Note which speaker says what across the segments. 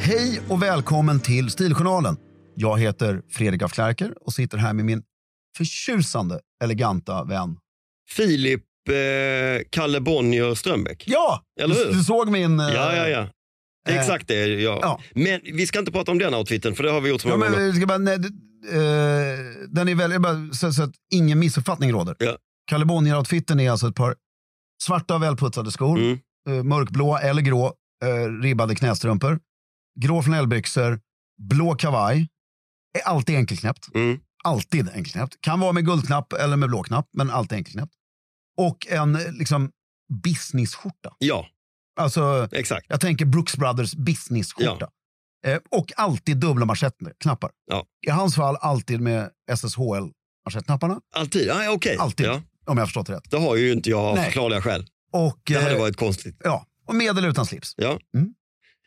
Speaker 1: Hej och välkommen till Stiljournalen. Jag heter Fredrik af Klerker och sitter här med min förtjusande eleganta vän.
Speaker 2: Filip eh, Kalle Bonnier Strömbäck.
Speaker 1: Ja!
Speaker 2: Eller
Speaker 1: du,
Speaker 2: hur?
Speaker 1: du såg min... eh,
Speaker 2: Ja, ja, ja. Det är
Speaker 1: Eh,
Speaker 2: exakt det. Ja.
Speaker 1: ja.
Speaker 2: Men vi ska inte prata om den outfiten, för det har vi gjort så
Speaker 1: Ja,
Speaker 2: många
Speaker 1: men
Speaker 2: gånger.
Speaker 1: vi ska bara, nej, det, eh, den är väldigt, bara, så, så att ingen missuppfattning råder.
Speaker 2: Ja.
Speaker 1: Calibornier-outfiten är alltså ett par svarta välputsade skor,
Speaker 2: Mm.
Speaker 1: eh, mörkblå eller grå, eh, ribbade knästrumpor, grå flanellbyxor, blå kavaj. Är alltid enkelknäppt.
Speaker 2: Mm.
Speaker 1: Alltid enkelknäppt. Kan vara med guldknapp eller med blå knapp, men alltid enkelknäppt. Och en eh, liksom businessskjorta.
Speaker 2: Ja,
Speaker 1: Alltså,
Speaker 2: exakt.
Speaker 1: jag tänker Brooks Brothers businessskjorta. Eh, och alltid dubbla manschettknappar.
Speaker 2: Ja.
Speaker 1: I hans fall alltid med SSHL-manschettknapparna,
Speaker 2: Alltid. Ah, ja, Okej,
Speaker 1: Alltid.
Speaker 2: Ja,
Speaker 1: om jag har förstått det rätt.
Speaker 2: det har ju inte jag av
Speaker 1: Nej.
Speaker 2: förklarliga skäl.
Speaker 1: Och,
Speaker 2: Det hade
Speaker 1: eh,
Speaker 2: varit konstigt.
Speaker 1: ja, och med eller utan slips.
Speaker 2: Ja.
Speaker 1: Mm.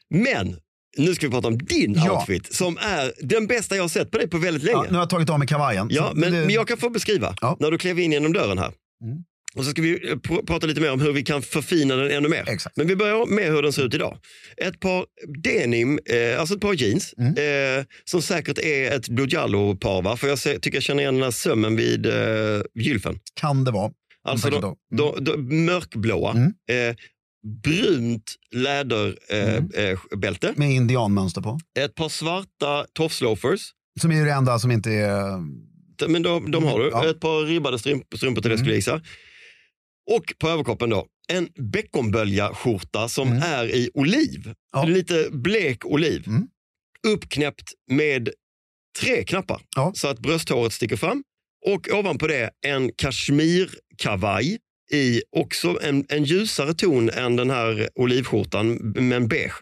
Speaker 2: Men nu ska vi prata om din
Speaker 1: Ja.
Speaker 2: outfit som är den bästa jag har sett på dig på väldigt
Speaker 1: Ja,
Speaker 2: länge.
Speaker 1: nu har jag tagit av mig kavajen.
Speaker 2: Ja,
Speaker 1: så
Speaker 2: men,
Speaker 1: det-
Speaker 2: men jag kan få beskriva
Speaker 1: Ja.
Speaker 2: när du klev in genom dörren här.
Speaker 1: Mm.
Speaker 2: Och så ska vi eh, pr- prata lite mer om hur vi kan förfina den ännu mer.
Speaker 1: Exakt.
Speaker 2: Men vi börjar med hur den ser ut idag. Ett par denim, eh, alltså ett par jeans,
Speaker 1: Mm.
Speaker 2: eh, som säkert är ett Blodjallo-par. va? För jag ser, tycker jag känner igen den här sömmen vid eh, gylfen.
Speaker 1: Kan det vara.
Speaker 2: Alltså
Speaker 1: Säkert
Speaker 2: de,
Speaker 1: då.
Speaker 2: de, de, mörkblåa,
Speaker 1: Mm.
Speaker 2: eh, brunt läderbälte, eh,
Speaker 1: Mm.
Speaker 2: eh, bälte.
Speaker 1: Med indianmönster på.
Speaker 2: ett par svarta tofsloafers.
Speaker 1: Som är ju det enda som inte är...
Speaker 2: D- Men de, de har du.
Speaker 1: Mm, Ja. Mm.
Speaker 2: Ett par ribbade strump, strumpor till det skulle jag gissa. Och på överkroppen då, en bäckonbölja-skjorta som
Speaker 1: Mm.
Speaker 2: är i oliv.
Speaker 1: Ja.
Speaker 2: Lite blek oliv.
Speaker 1: Mm.
Speaker 2: Uppknäppt med tre knappar
Speaker 1: Ja.
Speaker 2: så att brösthåret sticker fram. Och ovanpå det en kashmirkavaj i också en, en ljusare ton än den här olivskjortan, men beige.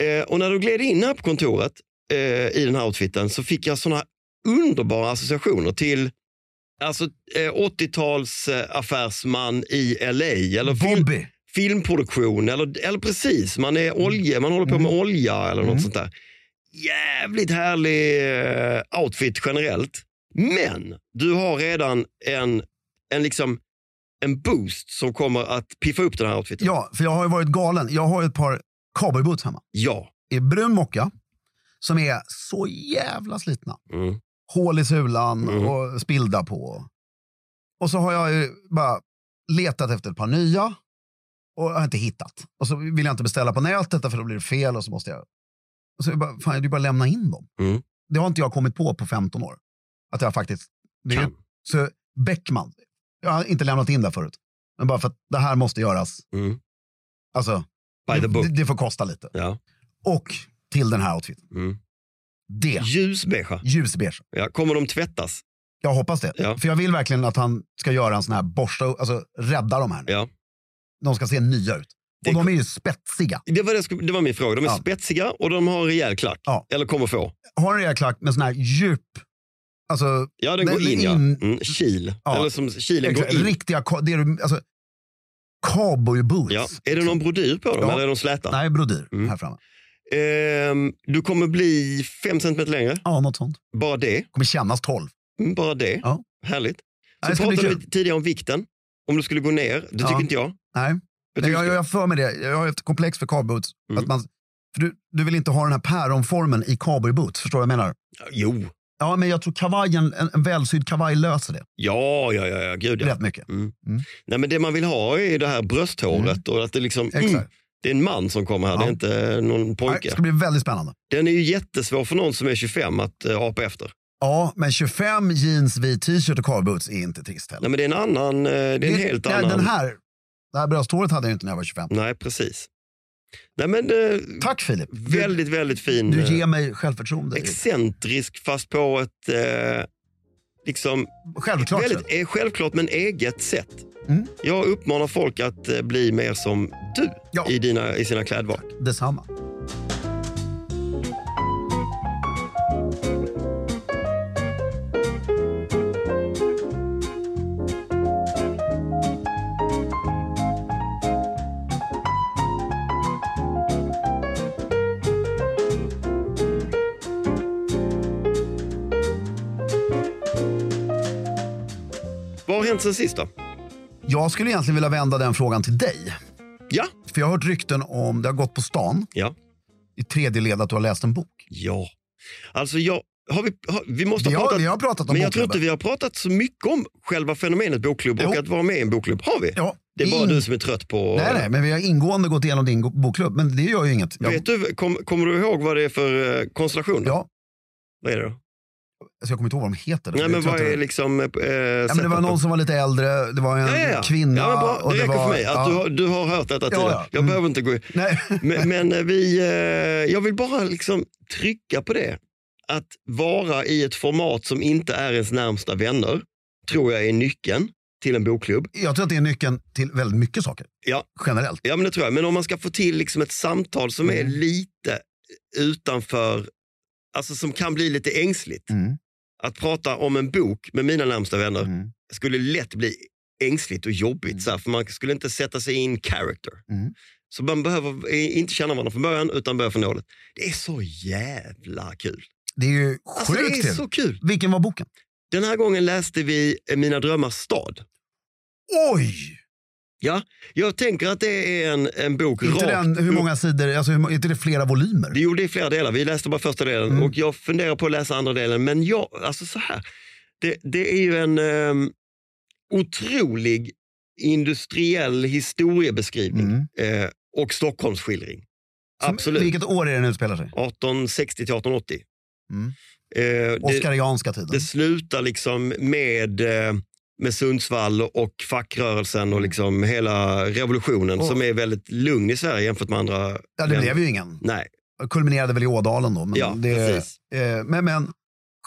Speaker 2: Eh, och när du gled in här på kontoret eh, i den här outfiten så fick jag såna underbara associationer till alltså, eh, 80-tals eh, affärsman i LA eller fil-
Speaker 1: Bobby.
Speaker 2: filmproduktion eller, eller precis, man är
Speaker 1: Mm.
Speaker 2: olje, man håller på med olja eller något sånt där. Jävligt härlig eh, outfit generellt. Men du har redan en, en, liksom, en boost som kommer att piffa upp den här outfiten.
Speaker 1: Ja, för jag har ju varit galen. Jag har ju ett par cowboyboots hemma.
Speaker 2: Ja.
Speaker 1: I brun mocka. Som är så jävla slitna.
Speaker 2: Mm.
Speaker 1: hål i sulan
Speaker 2: Mm.
Speaker 1: och spilda på. Och så har jag ju bara letat efter ett par nya. och har inte hittat. Och så vill jag inte beställa på nätet för då blir det fel och så måste jag... Och så är det bara, fan, det är bara att lämna in dem.
Speaker 2: Mm.
Speaker 1: Det har inte jag kommit på på 15 år. Att jag faktiskt... Det är ju,
Speaker 2: Kan.
Speaker 1: så Beckman, jag har inte lämnat in det förut. Men bara för att det här måste göras.
Speaker 2: Mm.
Speaker 1: Alltså,
Speaker 2: By the
Speaker 1: det,
Speaker 2: book.
Speaker 1: det, det får kosta lite.
Speaker 2: Ja.
Speaker 1: Och till den här outfiten.
Speaker 2: Mm.
Speaker 1: Det,
Speaker 2: Ljusbeiga.
Speaker 1: ljusbeige.
Speaker 2: Ja. Kommer de tvättas?
Speaker 1: Jag hoppas det.
Speaker 2: Ja.
Speaker 1: För jag vill verkligen att han ska göra en sån här borsta, alltså rädda de här nu.
Speaker 2: Ja.
Speaker 1: De ska se nya ut.
Speaker 2: Det-
Speaker 1: Och de är ju spetsiga.
Speaker 2: Det var, det, jag skulle- det var min fråga. De är
Speaker 1: Ja.
Speaker 2: spetsiga och de har en rejäl klack.
Speaker 1: Ja.
Speaker 2: Eller kommer få.
Speaker 1: Har en rejäl klack med sån här djup, alltså
Speaker 2: Ja, den
Speaker 1: Den
Speaker 2: går
Speaker 1: är
Speaker 2: in, ja.
Speaker 1: in-
Speaker 2: Mm. Kil.
Speaker 1: Ja.
Speaker 2: Eller som kilen går
Speaker 1: exakt,
Speaker 2: in.
Speaker 1: riktiga, ka- det är, du- alltså cowboyboots.
Speaker 2: Ja. Är det någon brodyr på dem
Speaker 1: Ja.
Speaker 2: eller är de släta?
Speaker 1: Nej, brodyr
Speaker 2: Mm.
Speaker 1: här framme.
Speaker 2: Ehm, du kommer bli fem centimeter längre.
Speaker 1: Ja, något sånt.
Speaker 2: Bara det.
Speaker 1: Kommer kännas tolv.
Speaker 2: Mm, Bara det.
Speaker 1: Ja.
Speaker 2: Härligt.
Speaker 1: Ja,
Speaker 2: Så
Speaker 1: det ska bli
Speaker 2: pratade
Speaker 1: kul.
Speaker 2: vi tidigare om vikten. Om du skulle gå ner. Det
Speaker 1: Ja.
Speaker 2: tycker inte jag.
Speaker 1: Nej,
Speaker 2: Jag
Speaker 1: Nej
Speaker 2: tycker
Speaker 1: jag,
Speaker 2: du
Speaker 1: jag
Speaker 2: ska-
Speaker 1: jag har för mig det. Jag har ett komplex för cowboyboots.
Speaker 2: Mm.
Speaker 1: Att man, för du, du vill inte ha den här päronformen i cowboyboots, förstår du vad jag menar?
Speaker 2: Jo.
Speaker 1: Ja, men jag tror kavajen, en, en välsydd kavaj löser det
Speaker 2: Ja, ja, ja, ja. Gud, ja.
Speaker 1: rätt mycket.
Speaker 2: Nej, men det man vill ha är det här brösthåret och att det liksom...
Speaker 1: Exakt.
Speaker 2: Mm, det är en man som kommer här, det är
Speaker 1: Ja.
Speaker 2: inte någon
Speaker 1: Nej, Det
Speaker 2: pojke.
Speaker 1: ska bli väldigt spännande.
Speaker 2: Den är ju jättesvår för någon som är 25 att eh, apa efter.
Speaker 1: Ja, men 25 jeans, vit t-shirt och cowboyboots är inte trist heller.
Speaker 2: Nej, men det är en annan... eh, Det är en
Speaker 1: Det-
Speaker 2: helt
Speaker 1: det-
Speaker 2: annan...
Speaker 1: Den här, det här brösthåret hade jag inte när jag var 25.
Speaker 2: Nej, precis. Nej, men eh,
Speaker 1: Tack Filip. Du-
Speaker 2: väldigt, väldigt fin.
Speaker 1: Du
Speaker 2: eh,
Speaker 1: ger mig självförtroende.
Speaker 2: excentrisk fast på ett eh, liksom
Speaker 1: Självklart.
Speaker 2: väldigt eh, självklart men eget sätt.
Speaker 1: Mm.
Speaker 2: Jag uppmanar folk att eh, bli mer som du
Speaker 1: Ja.
Speaker 2: i, dina, i sina klädval.
Speaker 1: Detsamma.
Speaker 2: Vad har hänt sen sist då?
Speaker 1: Jag skulle egentligen vilja vända den frågan till dig.
Speaker 2: Ja,
Speaker 1: För jag har hört rykten om, det har gått på stan
Speaker 2: ja,
Speaker 1: i tredje led att du har läst en bok.
Speaker 2: ja. Alltså jag, har vi, har, vi måste
Speaker 1: Vi
Speaker 2: ha
Speaker 1: har,
Speaker 2: pratat,
Speaker 1: vi har pratat om
Speaker 2: men jag tror inte
Speaker 1: bokklubben.
Speaker 2: vi har pratat så mycket om själva fenomenet bokklubb och
Speaker 1: Jo.
Speaker 2: att vara med i en bokklubb. Har vi?
Speaker 1: Ja,
Speaker 2: Det är bara
Speaker 1: in-
Speaker 2: du som är trött på...
Speaker 1: Nej, nej, men vi har ingående gått igenom din go- bokklubb. Men det gör ju inget. Jag,
Speaker 2: Vet du, kom, kommer du ihåg vad det är för eh, konstellation? då?
Speaker 1: Ja,
Speaker 2: Vad är det då?
Speaker 1: alltså jag kommer inte ihåg vad de heter.
Speaker 2: Nej,
Speaker 1: Jag
Speaker 2: men
Speaker 1: tror
Speaker 2: vad
Speaker 1: inte-
Speaker 2: är liksom... Eh,
Speaker 1: Ja, men det var någon som var lite äldre, det var en
Speaker 2: Ja, ja, ja.
Speaker 1: kvinna.
Speaker 2: Ja, men bra.
Speaker 1: och
Speaker 2: Det räcker
Speaker 1: var,
Speaker 2: för mig att
Speaker 1: ja.
Speaker 2: du, har, du har hört detta
Speaker 1: Ja,
Speaker 2: tidigare.
Speaker 1: ja.
Speaker 2: Jag
Speaker 1: Mm.
Speaker 2: behöver inte gå in.
Speaker 1: Nej.
Speaker 2: Men, men eh, vi, eh, jag vill bara liksom trycka på det. Att vara i ett format som inte är ens närmsta vänner tror jag är nyckeln till en bokklubb.
Speaker 1: Jag tror att det är nyckeln till väldigt mycket saker.
Speaker 2: Ja.
Speaker 1: Generellt.
Speaker 2: Ja, men det tror jag. Men om man ska få till liksom ett samtal som är
Speaker 1: Mm.
Speaker 2: lite utanför, alltså som kan bli lite ängsligt.
Speaker 1: Mm.
Speaker 2: Att prata om en bok med mina närmsta vänner
Speaker 1: Mm.
Speaker 2: skulle lätt bli ängsligt och jobbigt,
Speaker 1: Mm.
Speaker 2: så här, för man skulle inte sätta sig in character.
Speaker 1: Mm.
Speaker 2: Så man behöver eh, inte känna varandra från början, utan börja från nålet. Det är så jävla kul.
Speaker 1: Det är ju sjukt
Speaker 2: Alltså, det är
Speaker 1: till.
Speaker 2: så kul.
Speaker 1: Vilken var boken?
Speaker 2: Den här gången läste vi eh, Mina drömmars stad.
Speaker 1: Oj!
Speaker 2: Jag tänker att det är en, en bok
Speaker 1: Inte
Speaker 2: rakt
Speaker 1: den, hur många sidor, alltså, hur, må- inte det flera volymer?
Speaker 2: Det gjorde i flera delar. Vi läste bara första delen
Speaker 1: Mm.
Speaker 2: och jag funderar på att läsa andra delen. Men jag, alltså så här. Det, det är ju en ehm, otrolig industriell historiebeskrivning
Speaker 1: Mm.
Speaker 2: eh, och Stockholmsskildring.
Speaker 1: Som-
Speaker 2: Absolut.
Speaker 1: Vilket år är det den utspelar sig?
Speaker 2: 1860 till 1880.
Speaker 1: Mm.
Speaker 2: Eh, det,
Speaker 1: Oscarianska tiden.
Speaker 2: det slutar liksom med, eh, med Sundsvall och fackrörelsen
Speaker 1: Mm.
Speaker 2: och liksom hela revolutionen
Speaker 1: Och-
Speaker 2: som är väldigt lugn i Sverige jämfört med andra
Speaker 1: ja, det
Speaker 2: länder.
Speaker 1: blev ju ingen.
Speaker 2: Nej,
Speaker 1: Kulminerade väl i Ådalen då. Men,
Speaker 2: ja,
Speaker 1: Mm, det,
Speaker 2: precis.
Speaker 1: eh, men, men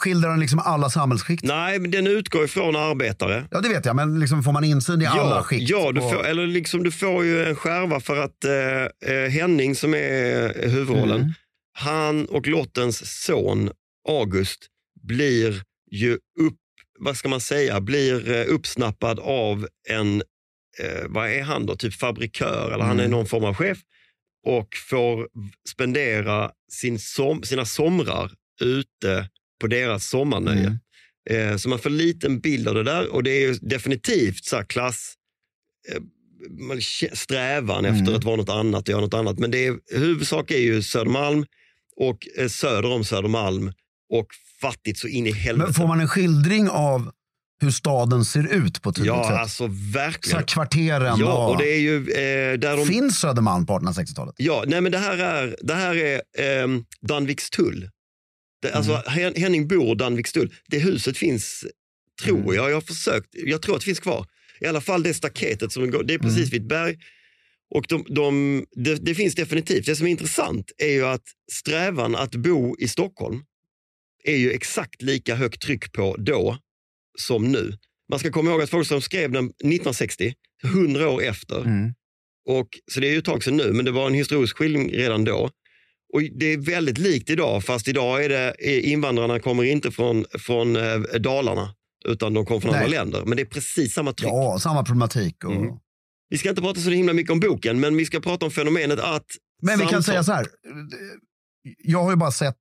Speaker 1: skildrar den liksom alla samhällsskikt?
Speaker 2: Nej, men den utgår ifrån arbetare.
Speaker 1: Ja, det vet jag, men liksom får man insyn i alla skikt?
Speaker 2: ja du,
Speaker 1: och-
Speaker 2: får, eller liksom, du får ju en skärva för att eh, eh, Henning som är eh, huvudrollen,
Speaker 1: Mm.
Speaker 2: han och Lottens son August blir ju upp, vad ska man säga, blir eh, uppsnappad av en, eh, vad är han då, typ fabrikör eller han
Speaker 1: Mm.
Speaker 2: är någon form av chef och får spendera sin som, sina somrar ute på deras sommarnöje.
Speaker 1: Mm.
Speaker 2: Eh, Så man får en liten bild av det där och det är ju definitivt så här klass, eh, man kä- strävan efter
Speaker 1: Mm.
Speaker 2: att vara något annat och göra något annat. Men det är, huvudsak är ju Södermalm och eh, söder om Södermalm och fattigt så in i helvete.
Speaker 1: Men får man en skildring av hur staden ser ut på ett tydligt
Speaker 2: Ja,
Speaker 1: sätt.
Speaker 2: alltså
Speaker 1: Så
Speaker 2: verkligen.
Speaker 1: här kvarteren
Speaker 2: Ja,
Speaker 1: och...
Speaker 2: och det är ju eh, där de...
Speaker 1: Finns Södermalm på 1860-talet?
Speaker 2: Ja, nej men det här är, det här är ehm, Danvikstull. Det, alltså Hen- Henning bor Danvikstull. Det huset finns, tror jag, jag har försökt, jag tror att det finns kvar. I alla fall det staketet som går, det är precis vid ett berg. Och de, de, det, det finns definitivt. Det som är intressant är ju att strävan att bo i Stockholm är ju exakt lika högt tryck på då som nu. Man ska komma ihåg att Folkström skrev den 1960, 100 år efter.
Speaker 1: Mm.
Speaker 2: Och, så det är ju ett tag sedan nu, men det var en historisk skildring redan då. Och det är väldigt likt idag, fast idag är det är- invandrarna kommer inte från, från eh, Dalarna, utan de kommer från
Speaker 1: Nej.
Speaker 2: andra länder. Men det är precis samma tryck.
Speaker 1: Ja, samma problematik. Och...
Speaker 2: Mm. Vi ska inte prata så himla mycket om boken, men vi ska prata om fenomenet att...
Speaker 1: Men vi kan
Speaker 2: samtal-
Speaker 1: säga så här. Jag har ju bara sett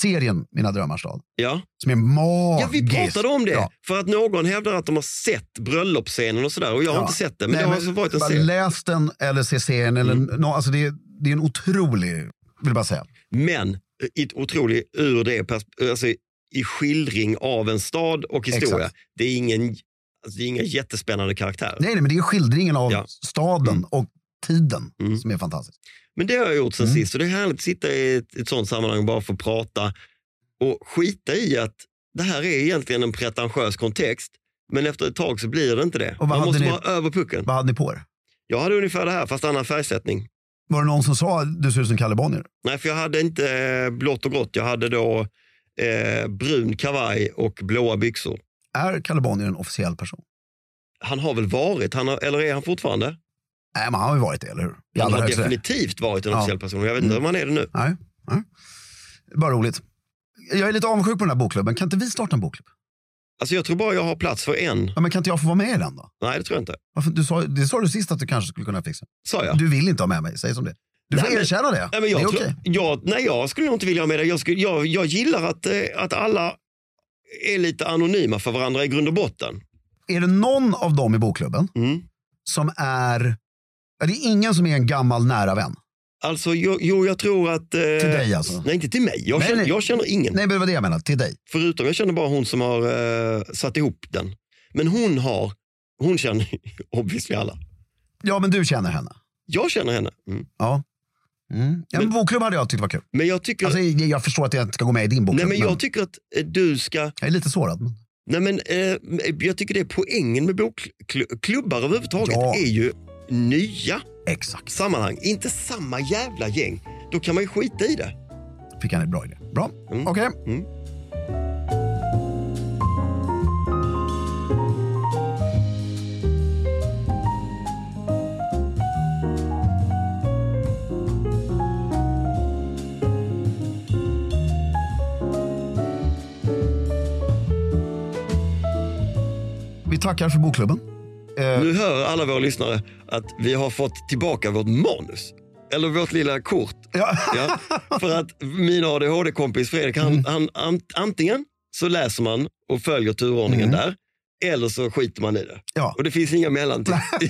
Speaker 1: serien Mina drömmars stad.
Speaker 2: Ja.
Speaker 1: Som är magisk.
Speaker 2: ja, vi pratade om det,
Speaker 1: Ja.
Speaker 2: för att någon hävdar att de har sett bröllopsscenen och sådär. Och jag har
Speaker 1: Ja.
Speaker 2: inte sett det, men
Speaker 1: Nej,
Speaker 2: det har alltså varit en Mm.
Speaker 1: bara
Speaker 2: scen.
Speaker 1: Läs den eller se serien. Eller, nå, alltså det, är- det är en otrolig, vill jag bara säga.
Speaker 2: Men i ett otroligt ur det pers- alltså, i skildring av en stad och historia.
Speaker 1: Exakt.
Speaker 2: Det är ingen alltså, det är inga jättespännande karaktärer.
Speaker 1: Nej, nej, men det är skildringen av
Speaker 2: Ja.
Speaker 1: staden och tiden
Speaker 2: Mm.
Speaker 1: som är fantastisk.
Speaker 2: Men det har jag gjort sen
Speaker 1: Mm.
Speaker 2: sist och det är härligt att sitta i ett, ett sånt sammanhang och bara få prata och skita i att det här är egentligen en pretentiös kontext. Men efter ett tag så blir det inte det.
Speaker 1: vad
Speaker 2: Man
Speaker 1: hade
Speaker 2: måste
Speaker 1: ni-
Speaker 2: vara över pucken.
Speaker 1: Vad hade ni på er?
Speaker 2: Jag hade ungefär det här, fast annan färgsättning.
Speaker 1: Var det någon som sa du ser ut som Kalle Bonnier?
Speaker 2: Nej, för jag hade inte eh, blått och grått. Jag hade då eh, brun kavaj och blåa byxor.
Speaker 1: Är Kalle Bonnier en officiell person?
Speaker 2: Han har väl varit, han har, eller är han fortfarande?
Speaker 1: Nej, men han har ju varit det, eller hur? I
Speaker 2: Han
Speaker 1: allra
Speaker 2: har
Speaker 1: högsta-
Speaker 2: definitivt varit en
Speaker 1: Ja. Mm.
Speaker 2: officiell person. Jag vet inte om han är det nu.
Speaker 1: Nej, nej. Bara roligt. Jag är lite avundsjuk på den här bokklubben. Kan inte vi starta en bokklubb?
Speaker 2: Alltså jag tror bara jag har plats för en.
Speaker 1: Ja, men kan inte jag få vara med i den då?
Speaker 2: Nej, det tror jag inte.
Speaker 1: Varför, du sa, det sa du sist att du kanske skulle kunna fixa.
Speaker 2: Sa jag?
Speaker 1: Du vill inte ha med mig, säg som det Du får
Speaker 2: Nej, men-
Speaker 1: erkänna det.
Speaker 2: Nej, men jag,
Speaker 1: det är
Speaker 2: tror,
Speaker 1: okej.
Speaker 2: jag, nej, jag skulle nog inte vilja ha med det. Jag, skulle, jag, jag gillar att, eh, att alla är lite anonyma för varandra i grund och botten.
Speaker 1: Är det någon av dem i bokklubben
Speaker 2: Mm.
Speaker 1: som är... Ja, det är ingen som är en gammal nära vän.
Speaker 2: Alltså, jo, jo, jag tror att... eh,
Speaker 1: Till dig alltså?
Speaker 2: Nej, inte till mig. Jag,
Speaker 1: Nej,
Speaker 2: känner,
Speaker 1: nej.
Speaker 2: jag känner ingen.
Speaker 1: Nej, men det var det jag menade. Till dig.
Speaker 2: Förutom jag känner bara hon som har eh, satt ihop den. Men hon har... Hon känner obviously alla.
Speaker 1: Ja, men du känner henne.
Speaker 2: Jag känner henne. Mm.
Speaker 1: Ja. Mm. ja men,
Speaker 2: Men-
Speaker 1: bokklubb hade jag tyckt var kul.
Speaker 2: Men jag tycker...
Speaker 1: Alltså, jag jag förstår att jag inte ska gå med i din
Speaker 2: nej,
Speaker 1: bokklubb.
Speaker 2: men jag tycker att eh, du ska...
Speaker 1: jag är lite sårad. Men...
Speaker 2: Nej men eh, jag tycker det är poängen med bokklubbar överhuvudtaget
Speaker 1: Ja.
Speaker 2: är ju nya
Speaker 1: Exakt.
Speaker 2: sammanhang, inte samma jävla gäng. Då kan man ju skita i det.
Speaker 1: Fick han en bra idé. Bra.
Speaker 2: Mm.
Speaker 1: Okej.
Speaker 2: Mm.
Speaker 1: Vi tackar för bokklubben. Eh,
Speaker 2: Nu hör alla våra lyssnare att vi har fått tillbaka vårt manus. Eller vårt lilla kort.
Speaker 1: ja.
Speaker 2: Ja. För att min ADHD-kompis Fredrik, han,
Speaker 1: Mm.
Speaker 2: han, an- antingen så läser man och följer turordningen där, eller så skiter man i det.
Speaker 1: Mm. ja.
Speaker 2: Och det finns inga mellanting.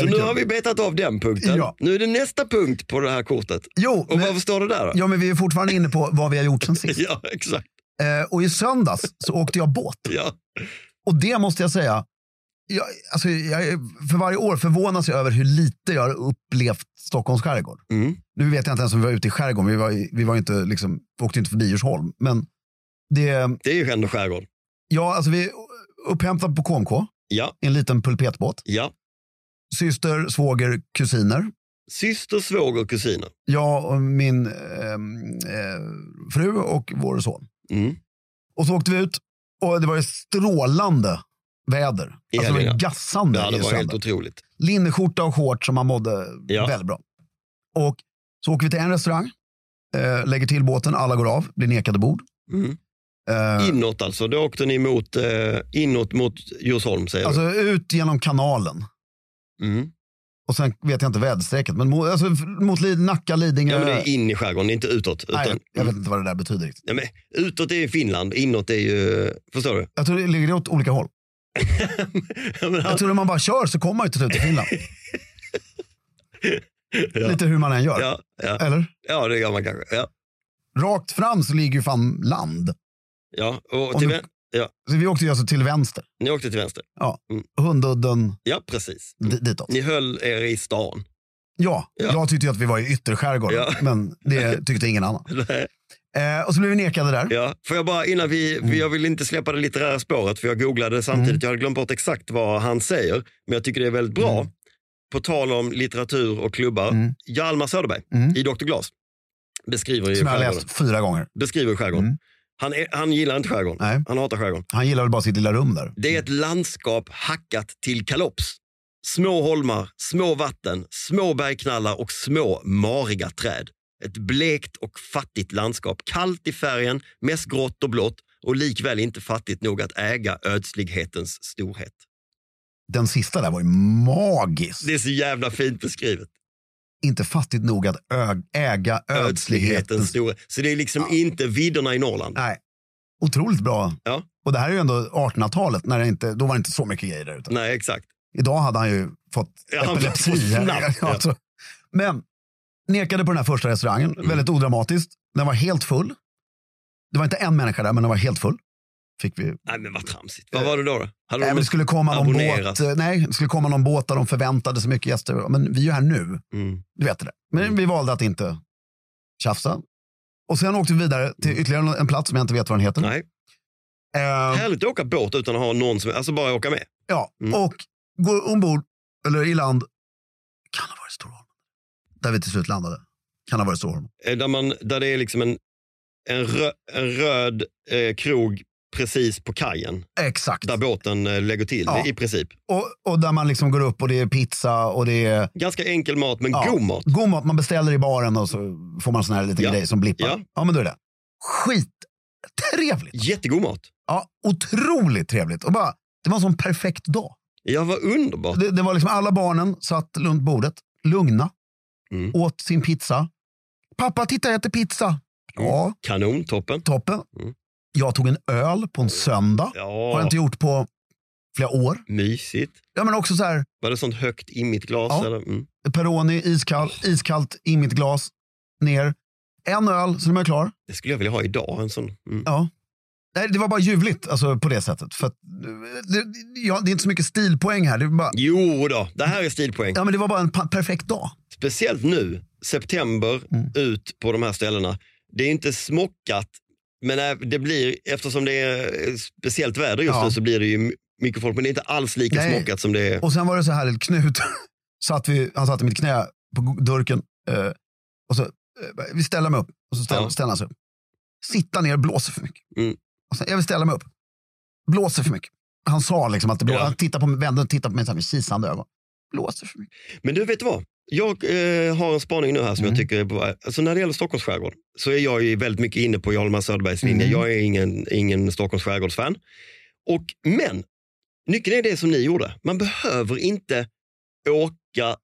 Speaker 2: så nu har vi betat av den punkten.
Speaker 1: Ja.
Speaker 2: Nu är det nästa punkt på det här kortet.
Speaker 1: Jo,
Speaker 2: Och
Speaker 1: men,
Speaker 2: varför står det där då?
Speaker 1: ja, men vi är fortfarande inne på vad vi har gjort sen sist.
Speaker 2: Ja, exakt.
Speaker 1: Eh, och i söndags så åkte jag båt.
Speaker 2: Ja.
Speaker 1: Och det måste jag säga, jag, alltså, jag, är- för varje år förvånas jag över hur lite jag har upplevt Stockholms skärgård.
Speaker 2: Mm.
Speaker 1: Nu vet jag inte ens om vi var ute i skärgården, vi, var, i- vi, var ju inte, liksom, vi åkte inte förbi Djursholm. Men det,
Speaker 2: Det är ju ändå skärgård.
Speaker 1: ja, alltså, vi upphämtade på KMK
Speaker 2: Ja,
Speaker 1: i en liten pulpetbåt.
Speaker 2: ja.
Speaker 1: Syster, svåger, kusiner.
Speaker 2: Syster, svåger, kusiner.
Speaker 1: Jag och min ehm, eh, fru och vår son.
Speaker 2: Mm.
Speaker 1: Och så åkte vi ut och det var ju strålande väder.
Speaker 2: I
Speaker 1: Alltså det var
Speaker 2: helgen, ja.
Speaker 1: gassande
Speaker 2: Ja, det
Speaker 1: i
Speaker 2: var helt
Speaker 1: söndags.
Speaker 2: otroligt.
Speaker 1: linneskjorta och shorts som man mådde
Speaker 2: Ja.
Speaker 1: väldigt bra. Och så åker vi till en restaurang, eh, lägger till båten, alla går av, blir nekade bord.
Speaker 2: Mm.
Speaker 1: Eh,
Speaker 2: Inåt alltså, då åkte ni mot, eh, inåt mot Djursholm säger
Speaker 1: alltså ut genom kanalen.
Speaker 2: du? Mm.
Speaker 1: Och sen vet jag inte väderstrecket, men mot, alltså, f- mot Lid, Nacka, Lidingö.
Speaker 2: Ja, men det är in i skärgården, det är inte utåt. Utan,
Speaker 1: eh, Nej, jag vet inte vad det där betyder riktigt.
Speaker 2: Ja, men, utåt är ju Finland, inåt är ju... Förstår du?
Speaker 1: Jag tror det ligger åt olika håll.
Speaker 2: Ja, men,
Speaker 1: Jag tror att man bara kör så kommer man ju till slut till Finland.
Speaker 2: Ja.
Speaker 1: Lite hur man än gör.
Speaker 2: ja, ja,
Speaker 1: Eller?
Speaker 2: ja, det gör man kanske. Ja,
Speaker 1: Rakt fram så ligger ju fan land.
Speaker 2: ja. Och
Speaker 1: Om
Speaker 2: till,
Speaker 1: du-
Speaker 2: vän, Ja.
Speaker 1: Så vi åkte ju alltså till vänster.
Speaker 2: Ni åkte till vänster.
Speaker 1: Hundudden
Speaker 2: Ja, precis.
Speaker 1: di- ditåt.
Speaker 2: Ni höll er i stan.
Speaker 1: Ja,
Speaker 2: Ja.
Speaker 1: jag tyckte ju att vi var i ytterskärgården,
Speaker 2: Ja.
Speaker 1: men det tyckte ingen annan. Eh, och så blev vi nekade där.
Speaker 2: Ja, får jag bara innan vi, vi- jag vill inte släppa det litterära spåret för jag googlade samtidigt.
Speaker 1: Mm.
Speaker 2: Jag hade glömt bort exakt vad han säger, men jag tycker det är väldigt bra.
Speaker 1: Mm.
Speaker 2: På tal om litteratur och klubbar.
Speaker 1: Mm.
Speaker 2: Hjalmar Söderberg
Speaker 1: Mm.
Speaker 2: i Dr. Glas beskriver ju
Speaker 1: Som jag har
Speaker 2: skärgården.
Speaker 1: läst fyra gånger.
Speaker 2: Beskriver skärgården.
Speaker 1: Mm.
Speaker 2: Han, är, han gillar inte skärgården.
Speaker 1: Nej.
Speaker 2: Han hatar skärgården.
Speaker 1: Han gillar väl bara sitt lilla rum där.
Speaker 2: Det är ett landskap hackat till kalops. Små holmar, små vatten, små bergknallar och små mariga träd. Ett blekt och fattigt landskap. Kallt i färgen, mest grått och blått och likväl inte fattigt nog att äga ödslighetens storhet.
Speaker 1: Den sista där var ju magisk.
Speaker 2: Det är så jävla fint beskrivet.
Speaker 1: Inte fattigt nog att ö- äga ödsligheten.
Speaker 2: Ödslighetens storhet. Så det är liksom inte vidderna i Norrland.
Speaker 1: Nej. Otroligt bra.
Speaker 2: Ja.
Speaker 1: Och det här är ju ändå 1800-talet, när det inte, då var det inte så mycket grejer där ute.
Speaker 2: Nej, exakt.
Speaker 1: Idag hade han ju fått
Speaker 2: Ja, han
Speaker 1: epilepsi.
Speaker 2: fick
Speaker 1: här.
Speaker 2: snabbt, ja.
Speaker 1: Alltså. Men nekade på den här första restaurangen,
Speaker 2: Mm.
Speaker 1: väldigt odramatiskt. Den var helt full. Det var inte en människa där, men den var helt full. Fick vi.
Speaker 2: Nej, men vad tramsigt. Vad var det då? då? Hade
Speaker 1: Nej, men
Speaker 2: de
Speaker 1: det,
Speaker 2: ett-
Speaker 1: skulle komma någon
Speaker 2: abonnerat.
Speaker 1: båt, nej, det skulle komma någon båt där de förväntade så mycket gäster. Men vi är ju här nu,
Speaker 2: Mm.
Speaker 1: du vet det. där. Men
Speaker 2: Mm.
Speaker 1: vi valde att inte tjafsa. Och sen åkte vi vidare till ytterligare en plats som jag inte vet vad den heter.
Speaker 2: Mm. Nej.
Speaker 1: Eh,
Speaker 2: Härligt att åka båt utan att ha någon som... Alltså bara åka med.
Speaker 1: Ja,
Speaker 2: Mm.
Speaker 1: och går ombord, eller i land, kan ha varit Storholmen. Där vi till slut landade. Kan ha varit Storholmen.
Speaker 2: Eh, där, man, där det är liksom en, en, rö, en röd eh, krog precis på kajen
Speaker 1: Exakt.
Speaker 2: där båten eh, lägger till
Speaker 1: Ja.
Speaker 2: i princip.
Speaker 1: Och, och där man liksom går upp och det är pizza och det är
Speaker 2: Ganska enkel mat men
Speaker 1: Ja.
Speaker 2: god mat.
Speaker 1: god mat. Man beställer i baren och så får man sån här liten
Speaker 2: Ja.
Speaker 1: grej som blippar.
Speaker 2: Ja.
Speaker 1: Ja. men då är det. Skittrevligt.
Speaker 2: Jättegod mat.
Speaker 1: Ja, otroligt trevligt. Och bara, det var en sån perfekt dag.
Speaker 2: Ja, vad underbart.
Speaker 1: Det, det var liksom alla barnen satt runt bordet, lugna,
Speaker 2: Mm.
Speaker 1: åt sin pizza. Pappa, titta jag äter pizza. Ja,
Speaker 2: Kanon, toppen.
Speaker 1: toppen.
Speaker 2: Mm.
Speaker 1: Jag tog en öl på en söndag. Har jag
Speaker 2: Ja,
Speaker 1: inte gjort på flera år.
Speaker 2: mysigt.
Speaker 1: Ja, men också så här,
Speaker 2: Var det sånt högt i mitt glas?
Speaker 1: Ja.
Speaker 2: Eller? Mm.
Speaker 1: Peroni, iskall, iskallt i mitt glas, ner. En öl, sen är man klar.
Speaker 2: Det skulle jag vilja ha idag. En sån. Mm.
Speaker 1: Ja. Nej, det var bara ljuvligt alltså, på det sättet. För att, eh, det, ja, det är inte så mycket stilpoäng här. Det, var bara,
Speaker 2: Jo då, det här är stilpoäng.
Speaker 1: ja, men det var bara en pa- perfekt dag.
Speaker 2: Speciellt nu, september,
Speaker 1: Mm.
Speaker 2: ut på de här ställena. Det är inte smockat, men ä- det blir, eftersom det är eh, speciellt väder just
Speaker 1: Ja.
Speaker 2: nu så blir det ju my- mycket folk. Men det är inte alls lika
Speaker 1: Nej.
Speaker 2: smockat som det är.
Speaker 1: Och sen var det så härligt. Knut, satt vi, han satt i mitt knä på go- durken. Eh, och så, eh, vi ställer mig upp och så ställer,
Speaker 2: Ja.
Speaker 1: ställer han sig upp. Sitta ner blåser för mycket.
Speaker 2: Mm.
Speaker 1: Och sen, jag vill ställa mig upp. Blåser för mycket. Han sa liksom att det blåser.
Speaker 2: Ja.
Speaker 1: Han tittade på mig, vände och tittade på mig så här med kisande ögon. Blåser för mycket.
Speaker 2: Men du, vet du vad? Jag eh, har en spaning nu här som
Speaker 1: Mm.
Speaker 2: jag tycker är bra. Alltså, när det gäller Stockholms skärgård så är jag ju väldigt mycket inne på Hjalmar Söderbergs linje.
Speaker 1: Mm.
Speaker 2: Jag är ingen, ingen Stockholms skärgårdsfan. Och, men nyckeln är det som ni gjorde. Man behöver inte åka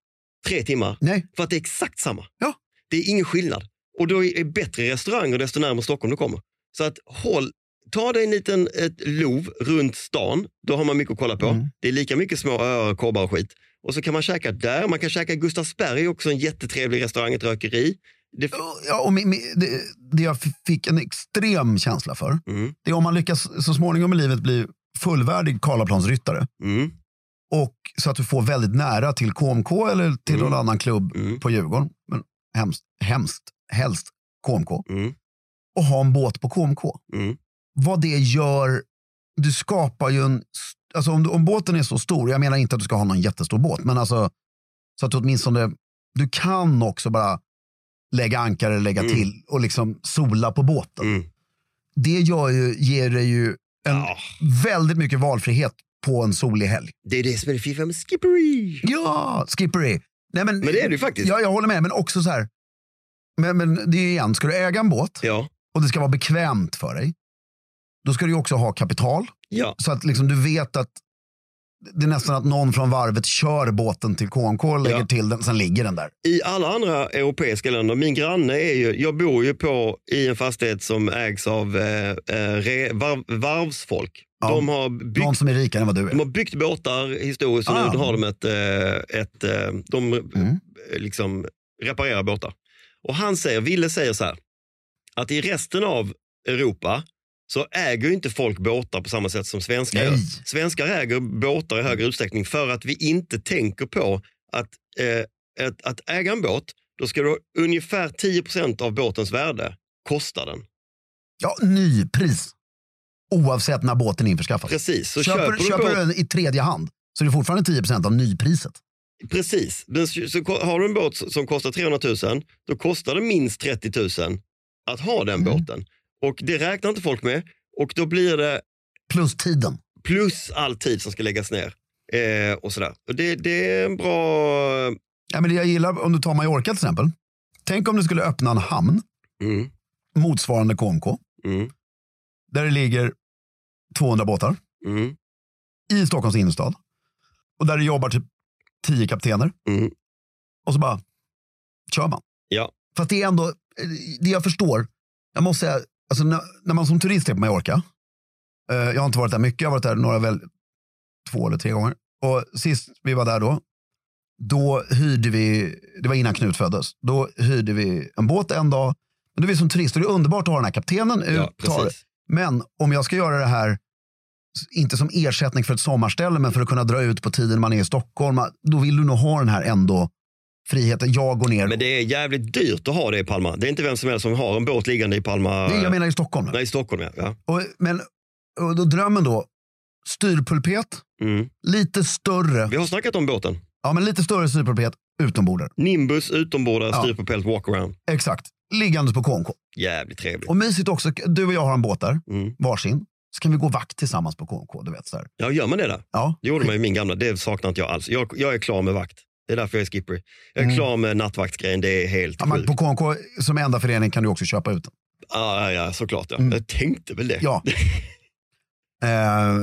Speaker 2: tre timmar
Speaker 1: Nej,
Speaker 2: För att det är exakt samma.
Speaker 1: Ja.
Speaker 2: Det är ingen skillnad. Och då är är bättre restauranger desto närmare Stockholm du kommer. Så att håll, ta dig en liten ett lov runt stan. Då har man mycket att kolla på.
Speaker 1: Mm.
Speaker 2: Det är lika mycket små öar, kobbar och skit. Och så kan man käka där. Man kan käka i Gustavsberg, också en jättetrevlig restaurang, ett rökeri. Det,
Speaker 1: ja, och min, min, det, det jag f- fick en extrem känsla för,
Speaker 2: mm,
Speaker 1: det är om man lyckas så småningom i livet bli fullvärdig Karlaplansryttare.
Speaker 2: mm,
Speaker 1: Och så att du får väldigt nära till KMK eller till
Speaker 2: Mm.
Speaker 1: någon annan klubb
Speaker 2: mm,
Speaker 1: på Djurgården. Men hemskt, hemskt, helst KMK.
Speaker 2: mm,
Speaker 1: Och ha en båt på KMK.
Speaker 2: mm.
Speaker 1: Vad det gör, du skapar ju en... Alltså om, du, om båten är så stor, jag menar inte att du ska ha någon jättestor båt, men alltså så att du åtminstone, du kan också bara lägga ankare, lägga
Speaker 2: Mm.
Speaker 1: till och liksom sola på båten.
Speaker 2: mm.
Speaker 1: Det gör ju, ger dig ju en,
Speaker 2: Ja,
Speaker 1: väldigt mycket valfrihet på en solig helg.
Speaker 2: Ah, det är det som är det fiffiga med Skippery.
Speaker 1: Ja, skippery. Nej, men,
Speaker 2: Men det är det ju faktiskt.
Speaker 1: Ja, jag håller med, men också så här. Men, men det är ju igen, ska du äga en båt
Speaker 2: Ja,
Speaker 1: och det ska vara bekvämt för dig, då ska du ju också ha kapital.
Speaker 2: ja.
Speaker 1: Så att liksom du vet att det är nästan att någon från varvet kör båten till KMK, lägger
Speaker 2: Ja.
Speaker 1: till den, sen ligger den där.
Speaker 2: i alla andra europeiska länder, min granne är ju, jag bor ju på i en fastighet som ägs av eh, eh, re, varv, varvsfolk.
Speaker 1: Ja.
Speaker 2: De, har byggt,
Speaker 1: Någon som är rikare än vad du
Speaker 2: de
Speaker 1: är.
Speaker 2: har byggt båtar historiskt och
Speaker 1: Ah.
Speaker 2: nu har de ett, eh, ett eh, de
Speaker 1: Mm.
Speaker 2: eh, liksom reparerar båtar. Och han säger, Ville säger så här, att i resten av Europa så äger ju inte folk båtar på samma sätt som svenskar
Speaker 1: Nej.
Speaker 2: gör. Svenskar äger båtar i
Speaker 1: Mm.
Speaker 2: högre utsträckning för att vi inte tänker på att, eh, att, att äga en båt, då ska du ha ungefär 10 av båtens värde, kostar den.
Speaker 1: Ja, nypris. Oavsett när båten införskaffas.
Speaker 2: Precis, så
Speaker 1: köper,
Speaker 2: köper,
Speaker 1: köper,
Speaker 2: du en båt-
Speaker 1: du den i tredje hand så är det fortfarande 10 av nypriset.
Speaker 2: Precis. Den, så ko- har du en båt som kostar 300 000, då kostar det minst 30 000 att ha den
Speaker 1: Mm.
Speaker 2: båten. Och det räknar inte folk med. Och då blir det
Speaker 1: Plus tiden.
Speaker 2: plus all tid som ska läggas ner. Eh, och sådär. Och det, det är en bra...
Speaker 1: Ja, men det jag gillar, om du tar Mallorca till exempel. Tänk om du skulle öppna en hamn
Speaker 2: Mm,
Speaker 1: motsvarande KMK
Speaker 2: mm,
Speaker 1: där det ligger 200 båtar
Speaker 2: mm,
Speaker 1: i Stockholms innerstad och där det jobbar typ 10 kaptener
Speaker 2: mm.
Speaker 1: och så bara kör man.
Speaker 2: Ja.
Speaker 1: Fast det är ändå, det jag förstår, jag måste säga, alltså när, när man som turist är på Mallorca, eh, jag har inte varit där mycket, jag har varit där några väl, två eller tre gånger. Och sist vi var där då, då hyrde vi, det var innan Knut föddes, då hyrde vi en båt en dag. Men då är vi som turister, det är underbart att ha den här kaptenen ut,
Speaker 2: Ja,
Speaker 1: tar det.
Speaker 2: precis.
Speaker 1: Men om jag ska göra det här, inte som ersättning för ett sommarställe, men för att kunna dra ut på tiden man är i Stockholm, ah, då vill du nog ha den här ändå friheten. Jag går ner.
Speaker 2: Men det är jävligt dyrt att ha det i Palma. Det är inte vem som helst som har en båt liggande i Palma.
Speaker 1: Nej, jag menar i Stockholm.
Speaker 2: Nej, i Stockholm. Ja. Ja.
Speaker 1: Och, men och då drömmen då, styrpulpet,
Speaker 2: Mm.
Speaker 1: lite större,
Speaker 2: Vi har snackat om båten.
Speaker 1: ja men lite större styrpulpet utombordare.
Speaker 2: Nimbus, utombordare,
Speaker 1: Ja.
Speaker 2: styrpropellt, walkaround.
Speaker 1: Exakt, liggandes på KMK.
Speaker 2: Jävligt trevligt.
Speaker 1: Och mysigt också, du och jag har en båt där,
Speaker 2: Mm.
Speaker 1: varsin. Så kan vi gå vakt tillsammans på KMK, du vet. Så här.
Speaker 2: Ja, gör man det där?
Speaker 1: Ja,
Speaker 2: Det gjorde man i min gamla. Det saknar inte jag alls. Jag, jag är klar med vakt. Det är därför jag är skipper. Jag är
Speaker 1: Mm.
Speaker 2: klar med nattvaktsgrejen. Det är helt
Speaker 1: ja
Speaker 2: sjukt.
Speaker 1: men på KMK som enda förening kan du också köpa ut den.
Speaker 2: ah, ja, ja, såklart. Ja.
Speaker 1: Mm.
Speaker 2: Jag tänkte väl det.
Speaker 1: Ja. eh,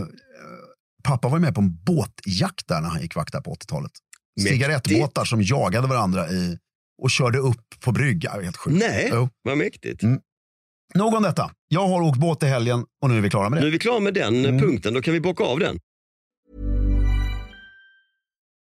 Speaker 1: pappa var ju med på en båtjakt där när han gick vakt där på 80-talet.
Speaker 2: Mäktigt.
Speaker 1: Cigarettbåtar som jagade varandra i, och körde upp på brygga. Helt sjukt.
Speaker 2: Nej,
Speaker 1: Jo.
Speaker 2: vad mäktigt.
Speaker 1: Mm. Nog om detta. Jag har åkt båt i helgen och nu är vi klara med det.
Speaker 2: Nu är vi klara med den
Speaker 1: Mm.
Speaker 2: punkten. Då kan vi bocka av den.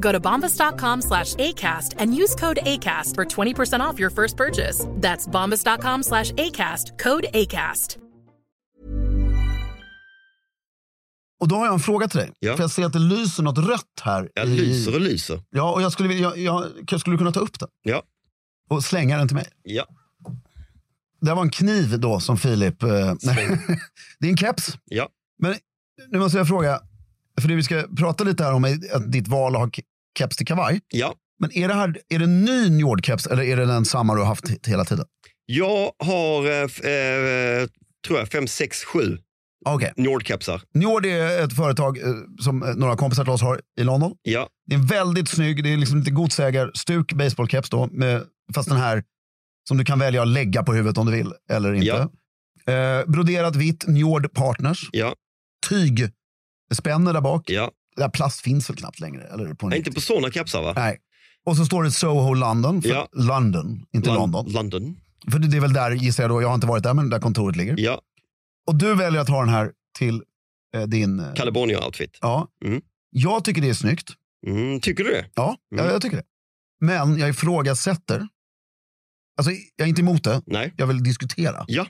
Speaker 3: Go to bombas.com slash ACAST and use code ACAST for 20% off your first purchase. That's bombas.com slash ACAST, code ACAST.
Speaker 1: Och då har jag en fråga till dig.
Speaker 2: Ja.
Speaker 1: För jag ser att det lyser något rött här.
Speaker 2: Jag
Speaker 1: i-
Speaker 2: lyser och lyser.
Speaker 1: Ja, och jag skulle, vilja- jag, jag, jag skulle kunna ta upp den
Speaker 2: Ja.
Speaker 1: och slänga den till mig.
Speaker 2: Ja.
Speaker 1: Det var en kniv då som Filip... Eh, nej. det är en keps.
Speaker 2: Ja.
Speaker 1: Men nu måste jag fråga, för det vi ska prata lite här om är att ditt val att ha ke- keps till kavaj.
Speaker 2: ja.
Speaker 1: Men är det, här, är det en ny Njord-keps eller är det den samma du har haft he- hela tiden?
Speaker 2: Jag har, eh, f- eh, tror jag, fem, sex, sju
Speaker 1: Okej.
Speaker 2: Nordkepsar.
Speaker 1: Njord är ett företag eh, som eh, några kompisar till oss har i London.
Speaker 2: Ja.
Speaker 1: Det är en väldigt snygg, det är liksom lite godsägarstuk baseballkeps då, med, fast den här som du kan välja att lägga på huvudet om du vill eller inte.
Speaker 2: Ja.
Speaker 1: Eh, broderat vitt, Njord Partners.
Speaker 2: Ja.
Speaker 1: Tygspänne där bak.
Speaker 2: ja.
Speaker 1: Där plast finns väl knappt längre? Eller på en
Speaker 2: Nej, inte på såna kepsar, va?
Speaker 1: Nej. Och så står det Soho London, för
Speaker 2: Ja.
Speaker 1: London, inte
Speaker 2: Lon-
Speaker 1: London.
Speaker 2: London.
Speaker 1: För det det är väl där, gissar jag då, jag har inte varit där, men där kontoret ligger.
Speaker 2: Ja.
Speaker 1: Och du väljer att ha den här till eh, din... eh,
Speaker 2: California-outfit.
Speaker 1: Ja.
Speaker 2: Mm.
Speaker 1: Jag tycker det är snyggt.
Speaker 2: Mm, tycker du det?
Speaker 1: Ja,
Speaker 2: Mm.
Speaker 1: jag, jag tycker det. Men jag ifrågasätter. Alltså, jag är inte emot det.
Speaker 2: Nej.
Speaker 1: Jag vill diskutera.
Speaker 2: Ja.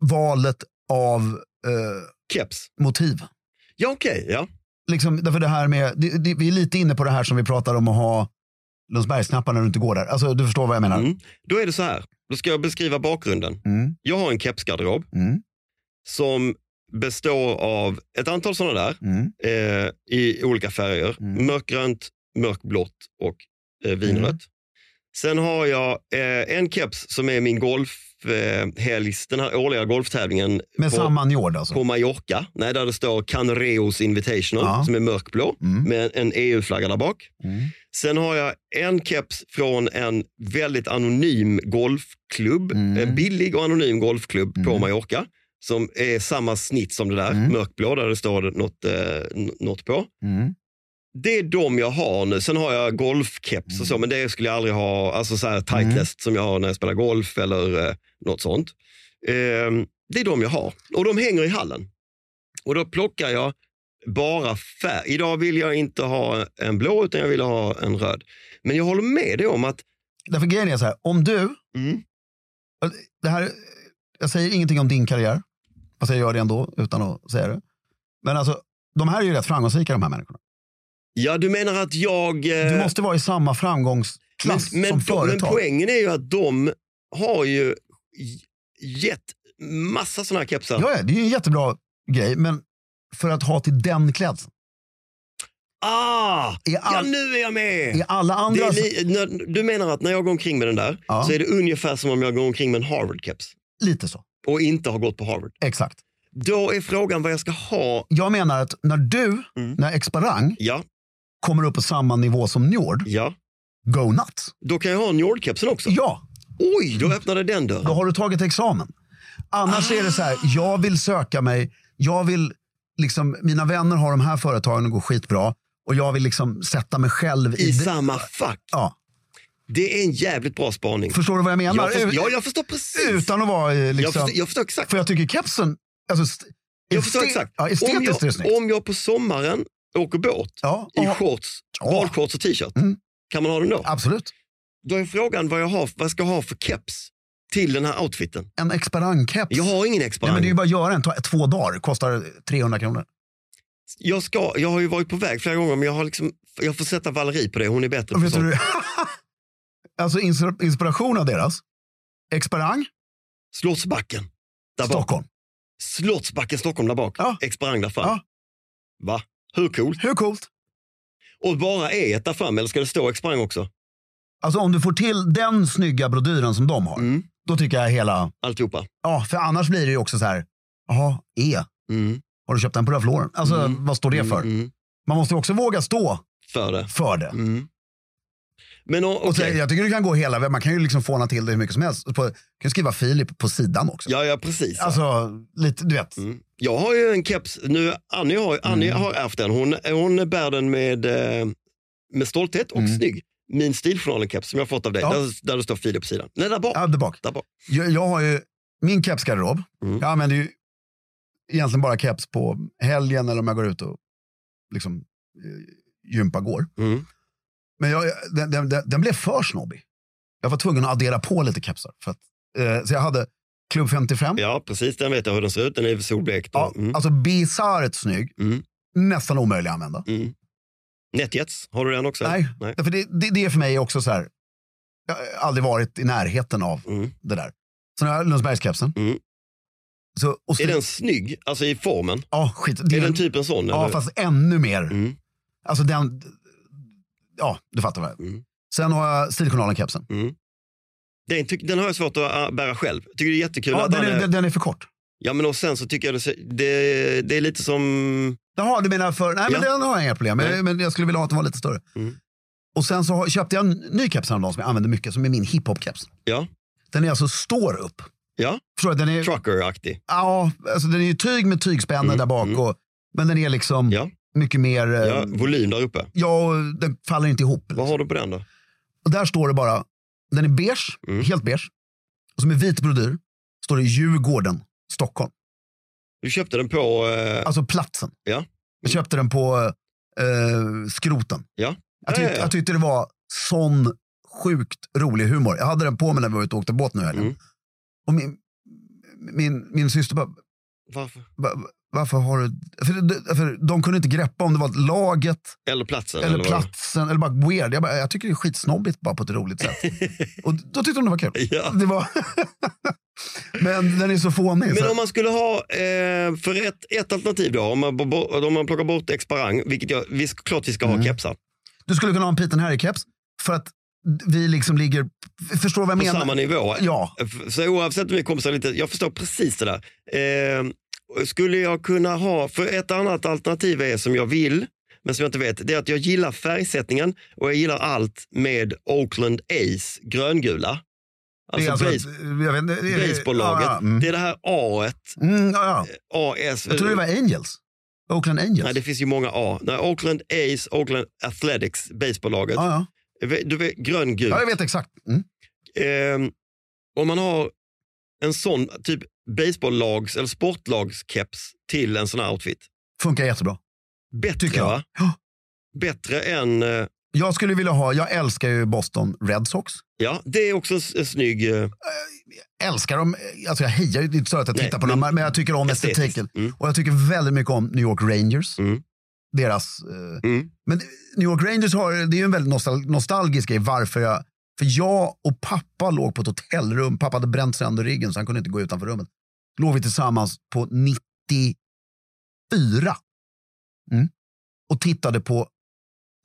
Speaker 1: Valet av eh,
Speaker 2: Keps?
Speaker 1: motiv.
Speaker 2: Ja, okej. Ja.
Speaker 1: Liksom, därför det här med, det, det, vi är lite inne på det här som vi pratade om att ha Lundsbergsknappar när du inte går där. Alltså, du förstår vad jag menar.
Speaker 2: Mm. Då är det så här. Då ska jag beskriva bakgrunden.
Speaker 1: Mm,
Speaker 2: Jag har en kepsgarderob
Speaker 1: mm,
Speaker 2: som består av ett antal sådana där
Speaker 1: mm,
Speaker 2: eh, i olika färger.
Speaker 1: Mm.
Speaker 2: Mörkgrönt, mörkblått och eh, vinrött. Sen har jag eh, en keps som är min golfhelgs, eh, helgs- den här årliga golftävlingen
Speaker 1: Med
Speaker 2: på,
Speaker 1: samma njord alltså?
Speaker 2: på Mallorca. Nej, där det står Canreos Invitational
Speaker 1: Ja.
Speaker 2: som är mörkblå
Speaker 1: Mm.
Speaker 2: med en EU-flagga där bak.
Speaker 1: Mm.
Speaker 2: Sen har jag en keps från en väldigt anonym golfklubb.
Speaker 1: Mm.
Speaker 2: En billig och anonym golfklubb på
Speaker 1: Mm.
Speaker 2: Mallorca. Som är samma snitt som det där,
Speaker 1: Mm.
Speaker 2: mörkblå, där det står något, eh, n- något på.
Speaker 1: Mm.
Speaker 2: Det är de jag har nu. Sen har jag golfkeps och så,
Speaker 1: Mm.
Speaker 2: men det skulle jag aldrig ha. Alltså så här tightness som jag har när jag spelar golf eller eh, något sånt. Ehm, det är de jag har och de hänger i hallen. Och då plockar jag bara färg. Idag vill jag inte ha en blå utan jag vill ha en röd. Men jag håller med dig om att
Speaker 1: Därför grejen är så här, om du,
Speaker 2: mm,
Speaker 1: det här, jag säger ingenting om din karriär, fast jag gör det ändå utan att säga det. Men alltså, de här är ju rätt framgångsrika de här människorna.
Speaker 2: ja, du menar att jag... eh,
Speaker 1: Du måste vara i samma framgångsklass
Speaker 2: men,
Speaker 1: som
Speaker 2: men, de- men
Speaker 1: företag.
Speaker 2: poängen är ju att de har ju j- gett massa sådana här kepsar.
Speaker 1: ja, ja, det är ju en jättebra grej, men för att ha till den klädseln.
Speaker 2: Ah,
Speaker 1: I
Speaker 2: ja,
Speaker 1: all-
Speaker 2: nu är jag med!
Speaker 1: I alla
Speaker 2: Det
Speaker 1: andra...
Speaker 2: är li, när, du menar att när jag går omkring med den där
Speaker 1: alltså- Ja.
Speaker 2: så är det ungefär som om jag går omkring med en Harvard-keps
Speaker 1: Lite så.
Speaker 2: och inte har gått på Harvard.
Speaker 1: Exakt.
Speaker 2: Då är frågan vad jag ska ha.
Speaker 1: Jag menar att när du,
Speaker 2: Mm.
Speaker 1: när Exparang
Speaker 2: Ja,
Speaker 1: kommer upp på samma nivå som Njord,
Speaker 2: ja.
Speaker 1: go nuts.
Speaker 2: Då kan jag ha Njord-kepsen också.
Speaker 1: Ja,
Speaker 2: Oj, då öppnade den
Speaker 1: då
Speaker 2: dörren.
Speaker 1: har du tagit examen. Annars är det så här, jag vill söka mig, jag vill, liksom, mina vänner har de här företagen och går skitbra och jag vill liksom sätta mig själv i,
Speaker 2: I
Speaker 1: det-
Speaker 2: samma fack.
Speaker 1: Ja,
Speaker 2: Det är en jävligt bra spaning.
Speaker 1: förstår du vad jag menar?
Speaker 2: jag, förstår,
Speaker 1: Ut-
Speaker 2: ja, jag förstår precis.
Speaker 1: Utan att vara eh,
Speaker 2: jag,
Speaker 1: liksom...
Speaker 2: förstår, jag förstår exakt.
Speaker 1: För jag tycker kepsen, alltså, st-
Speaker 2: Jag förstår
Speaker 1: este-
Speaker 2: exakt.
Speaker 1: Ja, estetiskt
Speaker 2: om,
Speaker 1: är det
Speaker 2: jag,
Speaker 1: snyggt.
Speaker 2: om jag på sommaren åker båt
Speaker 1: Ja,
Speaker 2: i
Speaker 1: och-
Speaker 2: shorts,
Speaker 1: Ja.
Speaker 2: badshorts och t-shirt,
Speaker 1: Mm.
Speaker 2: kan man ha den då?
Speaker 1: absolut.
Speaker 2: Då är frågan vad jag, har, vad jag ska ha för keps till den här outfiten.
Speaker 1: En Exparang-keps.
Speaker 2: Jag har ingen
Speaker 1: Nej,
Speaker 2: experang.
Speaker 1: men det är ju bara att göra en, ta, två dagar, kostar 300 kronor.
Speaker 2: jag, ska, jag har ju varit på väg flera gånger men jag, har liksom, jag får sätta Valerie på det, hon är bättre
Speaker 1: Och
Speaker 2: på
Speaker 1: vet du,
Speaker 2: sånt.
Speaker 1: hur- alltså ins- inspiration av deras, Exparang,
Speaker 2: Slottsbacken. Där bak.
Speaker 1: Stockholm.
Speaker 2: Slottsbacken Stockholm där bak.
Speaker 1: Ja.
Speaker 2: Experang där fram.
Speaker 1: Ja.
Speaker 2: Va? Hur coolt?
Speaker 1: Hur coolt?
Speaker 2: Och bara E där fram eller ska det stå Experang också?
Speaker 1: Alltså om du får till den snygga brodyren som de har,
Speaker 2: Mm.
Speaker 1: då tycker jag hela,
Speaker 2: Alltihopa.
Speaker 1: ja, för annars blir det ju också så här, jaha, E,
Speaker 2: Mm.
Speaker 1: har du köpt den på Ralph Lauren? Alltså
Speaker 2: Mm.
Speaker 1: vad står det
Speaker 2: Mm,
Speaker 1: för?
Speaker 2: Mm.
Speaker 1: Man måste ju också våga stå
Speaker 2: För det.
Speaker 1: för det.
Speaker 2: Mm. Men o-
Speaker 1: Och så,
Speaker 2: okej.
Speaker 1: jag tycker du kan gå hela vägen. Man kan ju liksom fåna till det hur mycket som helst. På, du kan skriva Filip på sidan också.
Speaker 2: Ja, ja precis.
Speaker 1: Alltså, lite, du vet.
Speaker 2: Mm. Jag har ju en keps, nu, Annie, har,
Speaker 1: Mm.
Speaker 2: Annie har ärvt den. Hon, hon bär den med, eh, med stolthet och snygg. Min Stiljournalen-keps som jag fått av dig,
Speaker 1: Mm. Ja.
Speaker 2: där, där det står Filip på sidan. Nej, där bak.
Speaker 1: Ja, där bak.
Speaker 2: Där bak.
Speaker 1: Jag, jag har ju min kepsgarderob.
Speaker 2: Mm.
Speaker 1: Jag använder ju egentligen bara keps på helgen eller om jag går ut och liksom eh, gympa går.
Speaker 2: Mm.
Speaker 1: Men jag, den, den, den, den blev för snobbig. Jag var tvungen att addera på lite kepsar. För att, eh, så jag hade Club 55.
Speaker 2: Ja, precis. Den vet jag hur den ser ut. Den är solblekt.
Speaker 1: Ja,
Speaker 2: och- Mm.
Speaker 1: Alltså bisarrt snygg.
Speaker 2: Mm.
Speaker 1: Nästan omöjlig att använda.
Speaker 2: Mm. Netjets, har du den också?
Speaker 1: Nej,
Speaker 2: Nej.
Speaker 1: Därför det, det, det är för mig också så här. Jag har aldrig varit i närheten av
Speaker 2: Mm.
Speaker 1: det där. Sen har jag Lundsbergskepsen.
Speaker 2: Mm.
Speaker 1: Så, och så,
Speaker 2: Är den snygg, alltså i formen?
Speaker 1: ja, skit.
Speaker 2: Är
Speaker 1: en-
Speaker 2: den typ en sån?
Speaker 1: Mm. Ja,
Speaker 2: eller?
Speaker 1: fast ännu mer.
Speaker 2: Mm.
Speaker 1: Alltså den... Ja, du fattar vad jag
Speaker 2: Mm.
Speaker 1: Sen har jag Stiljournalen-kepsen.
Speaker 2: Den, tyck- den har jag svårt att äh, bära själv. Tycker det är jättekul
Speaker 1: Ja,
Speaker 2: att
Speaker 1: den,
Speaker 2: han
Speaker 1: är, den, den är för kort.
Speaker 2: Ja, men och sen så tycker jag det, ser- det, det är lite som...
Speaker 1: Jaha, du menar för... Nej, men
Speaker 2: Ja.
Speaker 1: den har jag inga problem med.
Speaker 2: Nej.
Speaker 1: Men jag skulle vilja ha att den var lite större.
Speaker 2: Mm.
Speaker 1: Och sen så har, köpte jag en ny keps häromdagen som jag använder mycket, som är min hiphop-keps.
Speaker 2: Ja,
Speaker 1: Den är alltså står upp.
Speaker 2: ja.
Speaker 1: Förstår du? Den är,
Speaker 2: trucker-aktig.
Speaker 1: ja, alltså den är ju tyg med tygspänne där bak. Och, men den är liksom
Speaker 2: Mm, Ja.
Speaker 1: mycket mer... eh,
Speaker 2: Ja, volym där uppe.
Speaker 1: Ja, och den faller inte ihop.
Speaker 2: Vad har du på den då?
Speaker 1: Och där står det bara, den är beige,
Speaker 2: Mm.
Speaker 1: helt beige. Och som är vit brodyr står det Djurgården, Stockholm.
Speaker 2: Du köpte den på... Eh,
Speaker 1: Alltså platsen.
Speaker 2: Ja.
Speaker 1: Jag köpte den på eh, skroten.
Speaker 2: ja.
Speaker 1: Jag, tyck,
Speaker 2: Ja, ja, ja.
Speaker 1: jag tyckte det var sån sjukt rolig humor. Jag hade den på mig när vi var ute och åkte båt nu i helgen.
Speaker 2: Mm.
Speaker 1: Och min, min, min syster bara,
Speaker 2: Varför?
Speaker 1: "Va- varför har du... För, för de kunde inte greppa om det var laget
Speaker 2: Eller platsen?
Speaker 1: eller
Speaker 2: vad?
Speaker 1: platsen, eller bara weird. Jag, bara, jag tycker det är skitsnobbigt bara på ett roligt sätt. och då tyckte de det var kul.
Speaker 2: Ja.
Speaker 1: Det var Men den är så fånig.
Speaker 2: Men
Speaker 1: Så
Speaker 2: om man skulle ha, eh, för ett, ett alternativ då, om man, bo- bo- om man plockar
Speaker 1: Mm.
Speaker 2: bort Exparang, vilket jag, vi, klart vi ska ha kepsar.
Speaker 1: Du skulle kunna ha en Piten Harry-keps för att vi liksom ligger... Förstår vad jag
Speaker 2: på
Speaker 1: menar?
Speaker 2: samma nivå.
Speaker 1: Ja.
Speaker 2: Så oavsett om vi är kompisar eller inte, jag förstår precis det där. Eh, skulle jag kunna ha, för ett annat alternativ är som jag vill, men som jag inte vet, det är att jag gillar färgsättningen och jag gillar allt med Oakland Ace, gröngula.
Speaker 1: Det är
Speaker 2: Alltså,
Speaker 1: alltså
Speaker 2: base,
Speaker 1: att- jag vet inte, är det-
Speaker 2: baseballlaget.
Speaker 1: Ja, ja, mm.
Speaker 2: Det är det här A,
Speaker 1: Mm, ja, ja.
Speaker 2: AS.
Speaker 1: Jag trodde det var Angels. Oakland Angels.
Speaker 2: Nej, det finns ju många A. Nej, Oakland Ace, Oakland Athletics, baseballlaget.
Speaker 1: ja, ja.
Speaker 2: Du vet, gröngul.
Speaker 1: ja, jag vet exakt. Mm.
Speaker 2: Ehm, om man har en sån typ baseballlags eller sportlagskeps till en sån här outfit.
Speaker 1: Funkar jättebra.
Speaker 2: Bättre
Speaker 1: Tycker jag.
Speaker 2: va?
Speaker 1: Ja.
Speaker 2: Bättre än... eh,
Speaker 1: Jag skulle vilja ha, jag älskar ju Boston Red Sox.
Speaker 2: Ja, det är också en, s- en snygg... eh,
Speaker 1: Älskar dem, alltså jag hejar ju, det är inte så att jag
Speaker 2: Nej,
Speaker 1: tittar på
Speaker 2: men-
Speaker 1: dem, men jag tycker om
Speaker 2: estetiskt.
Speaker 1: estetiken.
Speaker 2: Mm.
Speaker 1: Och jag tycker väldigt mycket om New York Rangers.
Speaker 2: Mm.
Speaker 1: Deras... Eh,
Speaker 2: Mm.
Speaker 1: Men New York Rangers har, det är ju en väldigt nostal nostalgisk grej varför jag, för jag och pappa låg på ett hotellrum, pappa hade bränt sönder ryggen så han kunde inte gå utanför rummet. Låg vi tillsammans på 94 mm. och tittade på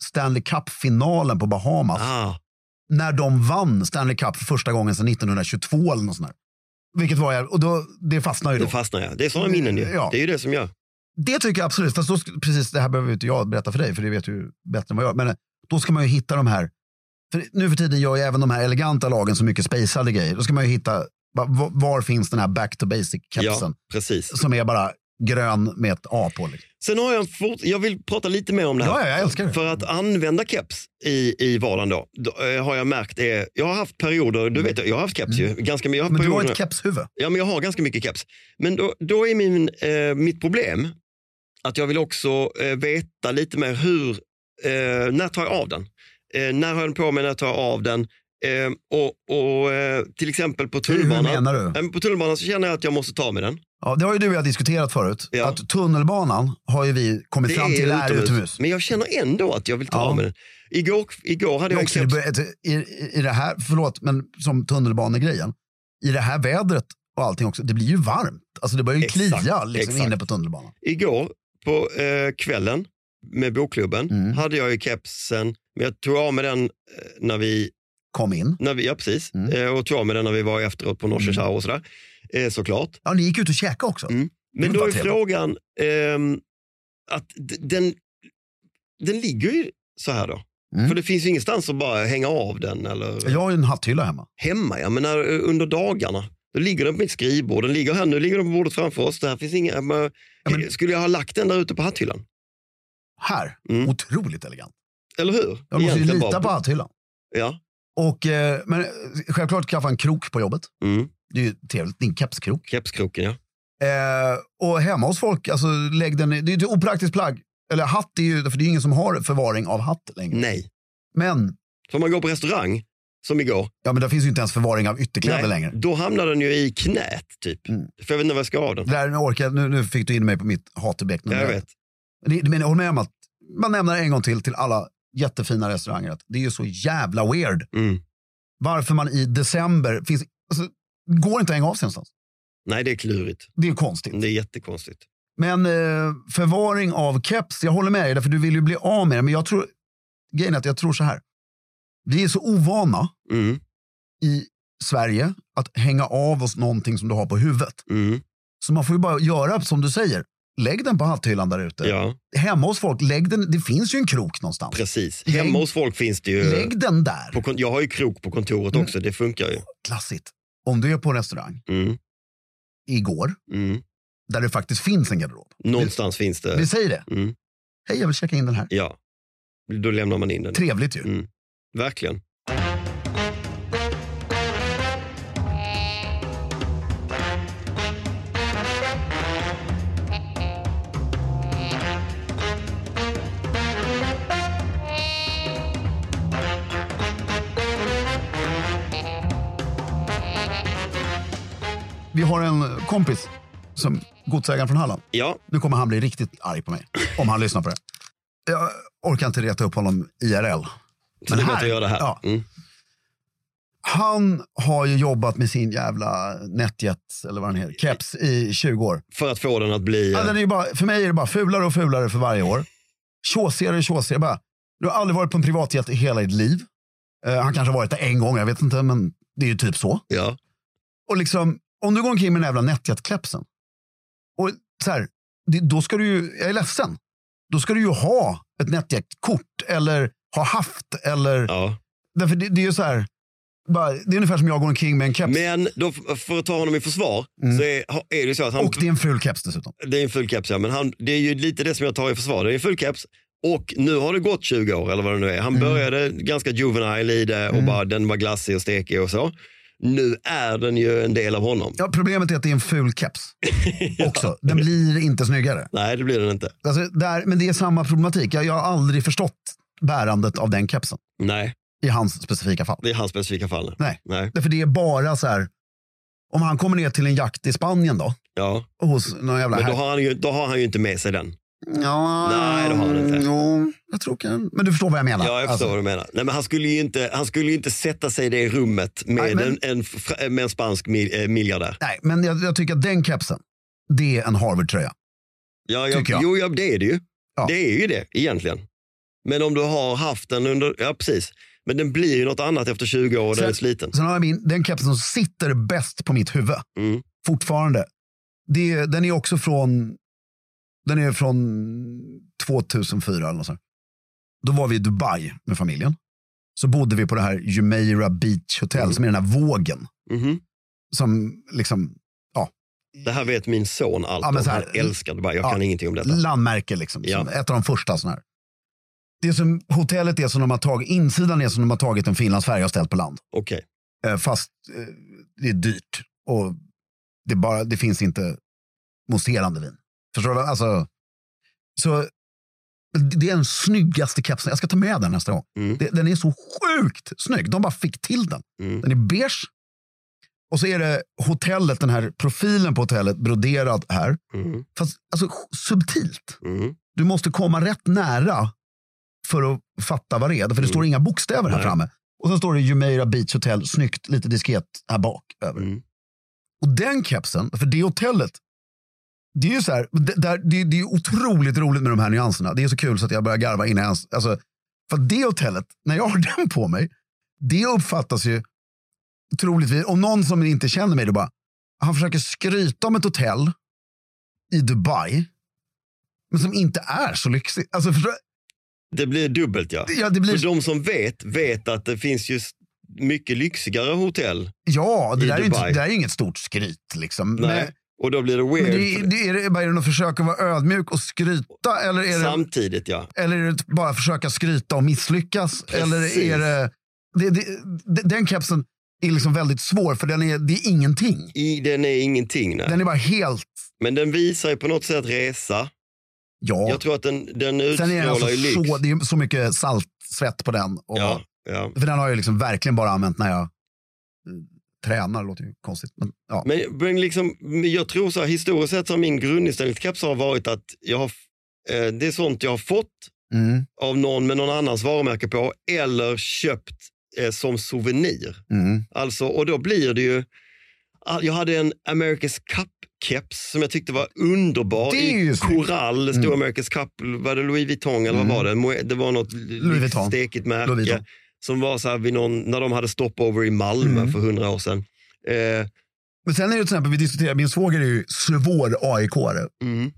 Speaker 1: Stanley Cup-finalen på Bahamas
Speaker 2: Ah,
Speaker 1: när de vann Stanley Cup för första gången sedan 1922 eller något sånt där. Vilket var jag, och då, det fastnar ju då.
Speaker 2: det fastnar jag. Det är såna minnen ju.
Speaker 1: Ja.
Speaker 2: Det är ju det som jag...
Speaker 1: Det tycker jag absolut. Fast då, sk- precis, det här behöver ju inte jag berätta för dig, för det vet du bättre än vad jag gör. Men eh, då ska man ju hitta de här, för nu för tiden gör ju även de här eleganta lagen så mycket spejsade grejer. Då ska man ju hitta, va- va- var finns den här back to basic-kepsen?
Speaker 2: Ja, precis.
Speaker 1: Som är bara grön med ett A på. Liksom.
Speaker 2: Sen har jag en fort... Jag vill prata lite mer om det här.
Speaker 1: Ja, ja, jag älskar det.
Speaker 2: För att använda keps i, i vardagen då, då eh, har jag märkt är... Jag har haft perioder, du vet, jag har haft keps ju. Ganska, men jag har haft
Speaker 1: Mm. Men du har
Speaker 2: perioder-
Speaker 1: ett kepshuvud.
Speaker 2: Ja, men jag har ganska mycket keps. Men då, då är min, eh, mitt problem att jag vill också eh, veta lite mer hur, eh, när tar jag av den? Eh, när har jag den på mig, när tar jag av den? Eh, och och eh, till exempel på
Speaker 1: Hur
Speaker 2: tunnelbanan.
Speaker 1: menar du?
Speaker 2: Ja, men På tunnelbanan så känner jag att jag måste ta med den.
Speaker 1: Ja, det har ju du och jag diskuterat förut.
Speaker 2: Ja.
Speaker 1: Att tunnelbanan har ju vi kommit fram till är utomhus.
Speaker 2: Men jag känner ändå att jag vill ta
Speaker 1: Ja.
Speaker 2: av mig den. Igår, igår
Speaker 1: Det är
Speaker 2: hade jag en
Speaker 1: också, det
Speaker 2: keps.
Speaker 1: börjar, i, I det här, förlåt, men som tunnelbanegrejen. I det här vädret och allting också, det blir ju varmt. Alltså det börjar ju
Speaker 2: Exakt,
Speaker 1: klia liksom,
Speaker 2: exakt.
Speaker 1: inne på tunnelbanan.
Speaker 2: Igår på eh, kvällen med bokklubben
Speaker 1: Mm.
Speaker 2: hade jag ju kepsen, men jag tog av mig den eh, när vi
Speaker 1: Kom in.
Speaker 2: När vi, ja, precis.
Speaker 1: Mm.
Speaker 2: Eh, och tog av mig den när vi var efteråt på Norse Shower och sådär. Eh, såklart.
Speaker 1: Ja, ni gick ut och käkade också.
Speaker 2: Mm. Men
Speaker 1: Det
Speaker 2: då
Speaker 1: var
Speaker 2: är
Speaker 1: trevligt.
Speaker 2: frågan ehm, att d- den, den ligger ju så här då.
Speaker 1: Mm.
Speaker 2: För det finns ju ingenstans att bara hänga av den. Eller...
Speaker 1: Jag har ju en hatthylla hemma.
Speaker 2: Hemma, ja. Men när, eh, under dagarna. Då ligger den på mitt skrivbord. Den ligger här, nu ligger den på bordet framför oss. Det här finns inga, men, eh, skulle jag ha lagt den där ute på hatthyllan?
Speaker 1: Här.
Speaker 2: Mm.
Speaker 1: Otroligt elegant.
Speaker 2: Eller hur?
Speaker 1: Jag måste ju
Speaker 2: Egentligen
Speaker 1: lita på
Speaker 2: bara-
Speaker 1: hatthyllan.
Speaker 2: Ja.
Speaker 1: Och, eh, men eh, självklart skaffa en krok på jobbet.
Speaker 2: Mm.
Speaker 1: Det är ju trevligt. Din kepskrok.
Speaker 2: Kepskroken, ja.
Speaker 1: Eh, och hemma hos folk, alltså, lägg den, i- det är ju ett opraktiskt plagg. Eller hatt, är ju, för det är ju ingen som har förvaring av hatt längre.
Speaker 2: Nej.
Speaker 1: Men,
Speaker 2: Så om man går på restaurang, som igår,
Speaker 1: ja, men där finns ju inte ens förvaring av ytterkläder
Speaker 2: Nej,
Speaker 1: längre.
Speaker 2: Då hamnar den ju i knät typ.
Speaker 1: Mm.
Speaker 2: För jag vet inte vad jag ska ha den.
Speaker 1: Det där, nu, orkar, jag- nu, nu fick du in mig på mitt hatobjekt.
Speaker 2: Ja, jag vet.
Speaker 1: Det- Men jag håller med om att man nämner en gång till till alla jättefina restauranger att det är ju så jävla weird
Speaker 2: Mm.
Speaker 1: varför man i december finns, alltså, går inte att hänga av sig någonstans.
Speaker 2: Nej, det är klurigt.
Speaker 1: Det är ju konstigt.
Speaker 2: Det är jättekonstigt.
Speaker 1: Men eh, förvaring av keps, jag håller med dig, därför du vill ju bli av med det. Men jag tror, grejen är att jag tror så här. Vi är så ovana
Speaker 2: Mm,
Speaker 1: i Sverige att hänga av oss någonting som du har på huvudet.
Speaker 2: mm,
Speaker 1: Så man får ju bara göra som du säger. Lägg den på hatthyllan där ute.
Speaker 2: ja,
Speaker 1: Hemma hos folk, lägg den, det finns ju en krok någonstans.
Speaker 2: precis.
Speaker 1: Lägg-
Speaker 2: Hemma hos folk finns det ju...
Speaker 1: Lägg den där.
Speaker 2: På, kon- jag har ju krok på kontoret också, det funkar ju.
Speaker 1: Klassigt. Om du är på en restaurang
Speaker 2: Mm,
Speaker 1: igår,
Speaker 2: mm.
Speaker 1: där det faktiskt finns en garderob.
Speaker 2: Någonstans finns
Speaker 1: Vi
Speaker 2: det...
Speaker 1: säger det.
Speaker 2: Mm,
Speaker 1: Hej, jag vill checka in den här.
Speaker 2: ja, då lämnar man in den.
Speaker 1: Trevligt ju.
Speaker 2: Mm. Verkligen.
Speaker 1: Vi har en kompis, som godsägaren från Halland.
Speaker 2: Ja,
Speaker 1: Nu kommer han bli riktigt arg på mig, om han lyssnar på det. Jag orkar inte reta upp honom IRL.
Speaker 2: så det är bättre att göra det här.
Speaker 1: Ja,
Speaker 2: Mm.
Speaker 1: han har ju jobbat med sin jävla Netjet, eller vad den heter, keps i 20 år.
Speaker 2: För att få den att bli... eh,
Speaker 1: Ja, den är ju bara, för mig är det bara fulare och fulare för varje år. Tjåsigare och tjåsigare. Bara, Du har aldrig varit på en privatjet i hela ditt liv. Eh, han kanske har varit där en gång, jag vet inte, men det är ju typ så.
Speaker 2: Ja.
Speaker 1: Och liksom, om du går omkring med den här jävla nättjattkepsen. Och så här, det, då ska du ju, jag är ledsen. Då ska du ju ha ett nättjaktkort eller ha haft eller,
Speaker 2: ja.
Speaker 1: därför det, det är ju så här, bara, det är ungefär som jag går omkring med en keps.
Speaker 2: Men då, f- för att ta honom i försvar så är, har- är det så att han...
Speaker 1: Mm. Och det är en ful keps dessutom.
Speaker 2: Det är en full keps, ja. Men han, det är ju lite det som jag tar i försvar. Det är en full keps. Och nu har det gått 20 år eller vad det nu är.
Speaker 1: Mm.
Speaker 2: Han började ganska juvenile i det och bara, den var glassig och stekig och så. Nu är den ju en del av honom.
Speaker 1: Ja, problemet är att det är en ful keps också. Den blir inte snyggare.
Speaker 2: Nej, det blir den inte.
Speaker 1: Alltså, där, men det är samma problematik. Jag, jag har aldrig förstått bärandet av den kepsen
Speaker 2: Nej,
Speaker 1: i hans specifika fall.
Speaker 2: det är hans specifika fall.
Speaker 1: Nej.
Speaker 2: Nej,
Speaker 1: Därför det är bara så här, om han kommer ner till en jakt i Spanien då,
Speaker 2: ja.
Speaker 1: hos någon jävla
Speaker 2: Men då
Speaker 1: här-
Speaker 2: har, han ju, då har han ju inte med sig den.
Speaker 1: Ja,
Speaker 2: Nej, det har han inte.
Speaker 1: Jo, jag tror kan... Men du förstår vad jag menar.
Speaker 2: Ja, jag förstår
Speaker 1: Alltså,
Speaker 2: vad du menar. Nej, men han, skulle ju inte, han skulle ju inte sätta sig i det rummet med,
Speaker 1: Nej, men-
Speaker 2: en, en, fr- med en spansk mil, eh, miljardär.
Speaker 1: Nej, men jag, jag tycker att den kepsen, det är en Harvard-tröja.
Speaker 2: Ja, jag,
Speaker 1: Tycker jag.
Speaker 2: Jo, ja, det är det ju.
Speaker 1: Ja.
Speaker 2: Det är ju det egentligen. Men om du har haft den under, ja precis. Men den blir ju något annat efter 20 år och den är sliten.
Speaker 1: Sen har jag min, den kepsen som sitter bäst på mitt huvud,
Speaker 2: Mm.
Speaker 1: fortfarande. Det, den är också från, den är från 2004 eller något sånt. Då var vi i Dubai med familjen. Så bodde vi på det här Jumeirah Beach Hotel
Speaker 2: Mm.
Speaker 1: som är den här vågen.
Speaker 2: Mhm.
Speaker 1: Som liksom, ja,
Speaker 2: Det här vet min son allt
Speaker 1: Ja, men
Speaker 2: om.
Speaker 1: så här-
Speaker 2: Han älskar Dubai. Jag
Speaker 1: Ja.
Speaker 2: kan ingenting om detta.
Speaker 1: landmärke liksom.
Speaker 2: Ja.
Speaker 1: Som ett av de första sådana här. Det som hotellet är som de har tagit, insidan är som de har tagit en finlandsfärja och ställt på land.
Speaker 2: Okej.
Speaker 1: Eh, Fast eh, det är dyrt och det, är bara, det finns inte mousserande vin. Förstår du? vad- Alltså, så det är den snyggaste kepsen. Jag ska ta med den nästa gång.
Speaker 2: Mm.
Speaker 1: Det, den är så sjukt snygg. De bara fick till den.
Speaker 2: Mm.
Speaker 1: Den är beige. Och så är det hotellet, den här profilen på hotellet broderad här.
Speaker 2: Mm.
Speaker 1: Fast alltså, subtilt.
Speaker 2: Mm.
Speaker 1: Du måste komma rätt nära för att fatta vad det är. För det står inga bokstäver här
Speaker 2: Mm. Nej.
Speaker 1: framme. Och sen står det Jumeirah Beach Hotel, snyggt, lite diskret här bak. Över.
Speaker 2: Mm.
Speaker 1: Och den kepsen, för det hotellet, det är ju så här, det, där, det, det är otroligt roligt med de här nyanserna. Det är så kul så att jag börjar garva innan jag ens, alltså, för att det hotellet, när jag har den på mig, det uppfattas ju troligtvis, om någon som inte känner mig då bara, han försöker skryta om ett hotell i Dubai, men som inte är så lyxigt. Alltså, förstår,
Speaker 2: Det blir dubbelt ja.
Speaker 1: ja, det blir,
Speaker 2: För de som vet, vet att det finns ju s- mycket lyxigare hotell.
Speaker 1: ja, det
Speaker 2: i
Speaker 1: där, är ju inte,
Speaker 2: Dubai.
Speaker 1: det där är ju inget stort skryt liksom.
Speaker 2: Nej. Och då blir det
Speaker 1: Men, men
Speaker 2: weird.
Speaker 1: det, det, är det, bara är det något försök att vara ödmjuk och skryta? Eller är det,
Speaker 2: Samtidigt ja.
Speaker 1: Eller är det bara försöka skryta och misslyckas? Eller är det, det, det, det... Den kepsen är liksom väldigt svår för den är, det är ingenting.
Speaker 2: I, den är ingenting. Nej.
Speaker 1: Den är bara helt...
Speaker 2: Men den visar ju på något sätt resa.
Speaker 1: Ja.
Speaker 2: Jag tror att den, den
Speaker 1: Sen är
Speaker 2: utstrålar
Speaker 1: den alltså
Speaker 2: ju lyx.
Speaker 1: så, det är så mycket salt, svett på den. Och,
Speaker 2: Ja, ja.
Speaker 1: För den har jag liksom verkligen bara använt när jag mm, tränar. Det låter ju konstigt. Men, ja.
Speaker 2: Men, men liksom, men jag tror så här, historiskt sett så har min grundinställning till keps har varit att jag har, f- eh, det är sånt jag har fått
Speaker 1: Mm,
Speaker 2: av någon med någon annans varumärke på eller köpt eh, som souvenir.
Speaker 1: mm.
Speaker 2: Alltså, och då blir det ju, Ah, jag hade en America's Cup-keps som jag tyckte var underbar
Speaker 1: Det är
Speaker 2: i
Speaker 1: ju snyggt. Mm.
Speaker 2: korall, det stod America's Cup, var det Louis Vuitton eller vad var det? Moe- Det var något
Speaker 1: Vuitton.
Speaker 2: stekigt
Speaker 1: Louis
Speaker 2: märke
Speaker 1: Vuitton.
Speaker 2: som var så här vid någon, när de hade stopover i Malmö
Speaker 1: Mm.
Speaker 2: för hundra år sedan. Eh,
Speaker 1: Men sen är det till exempel, vi diskuterar, min svåger är ju svår AIK-are.
Speaker 2: mm.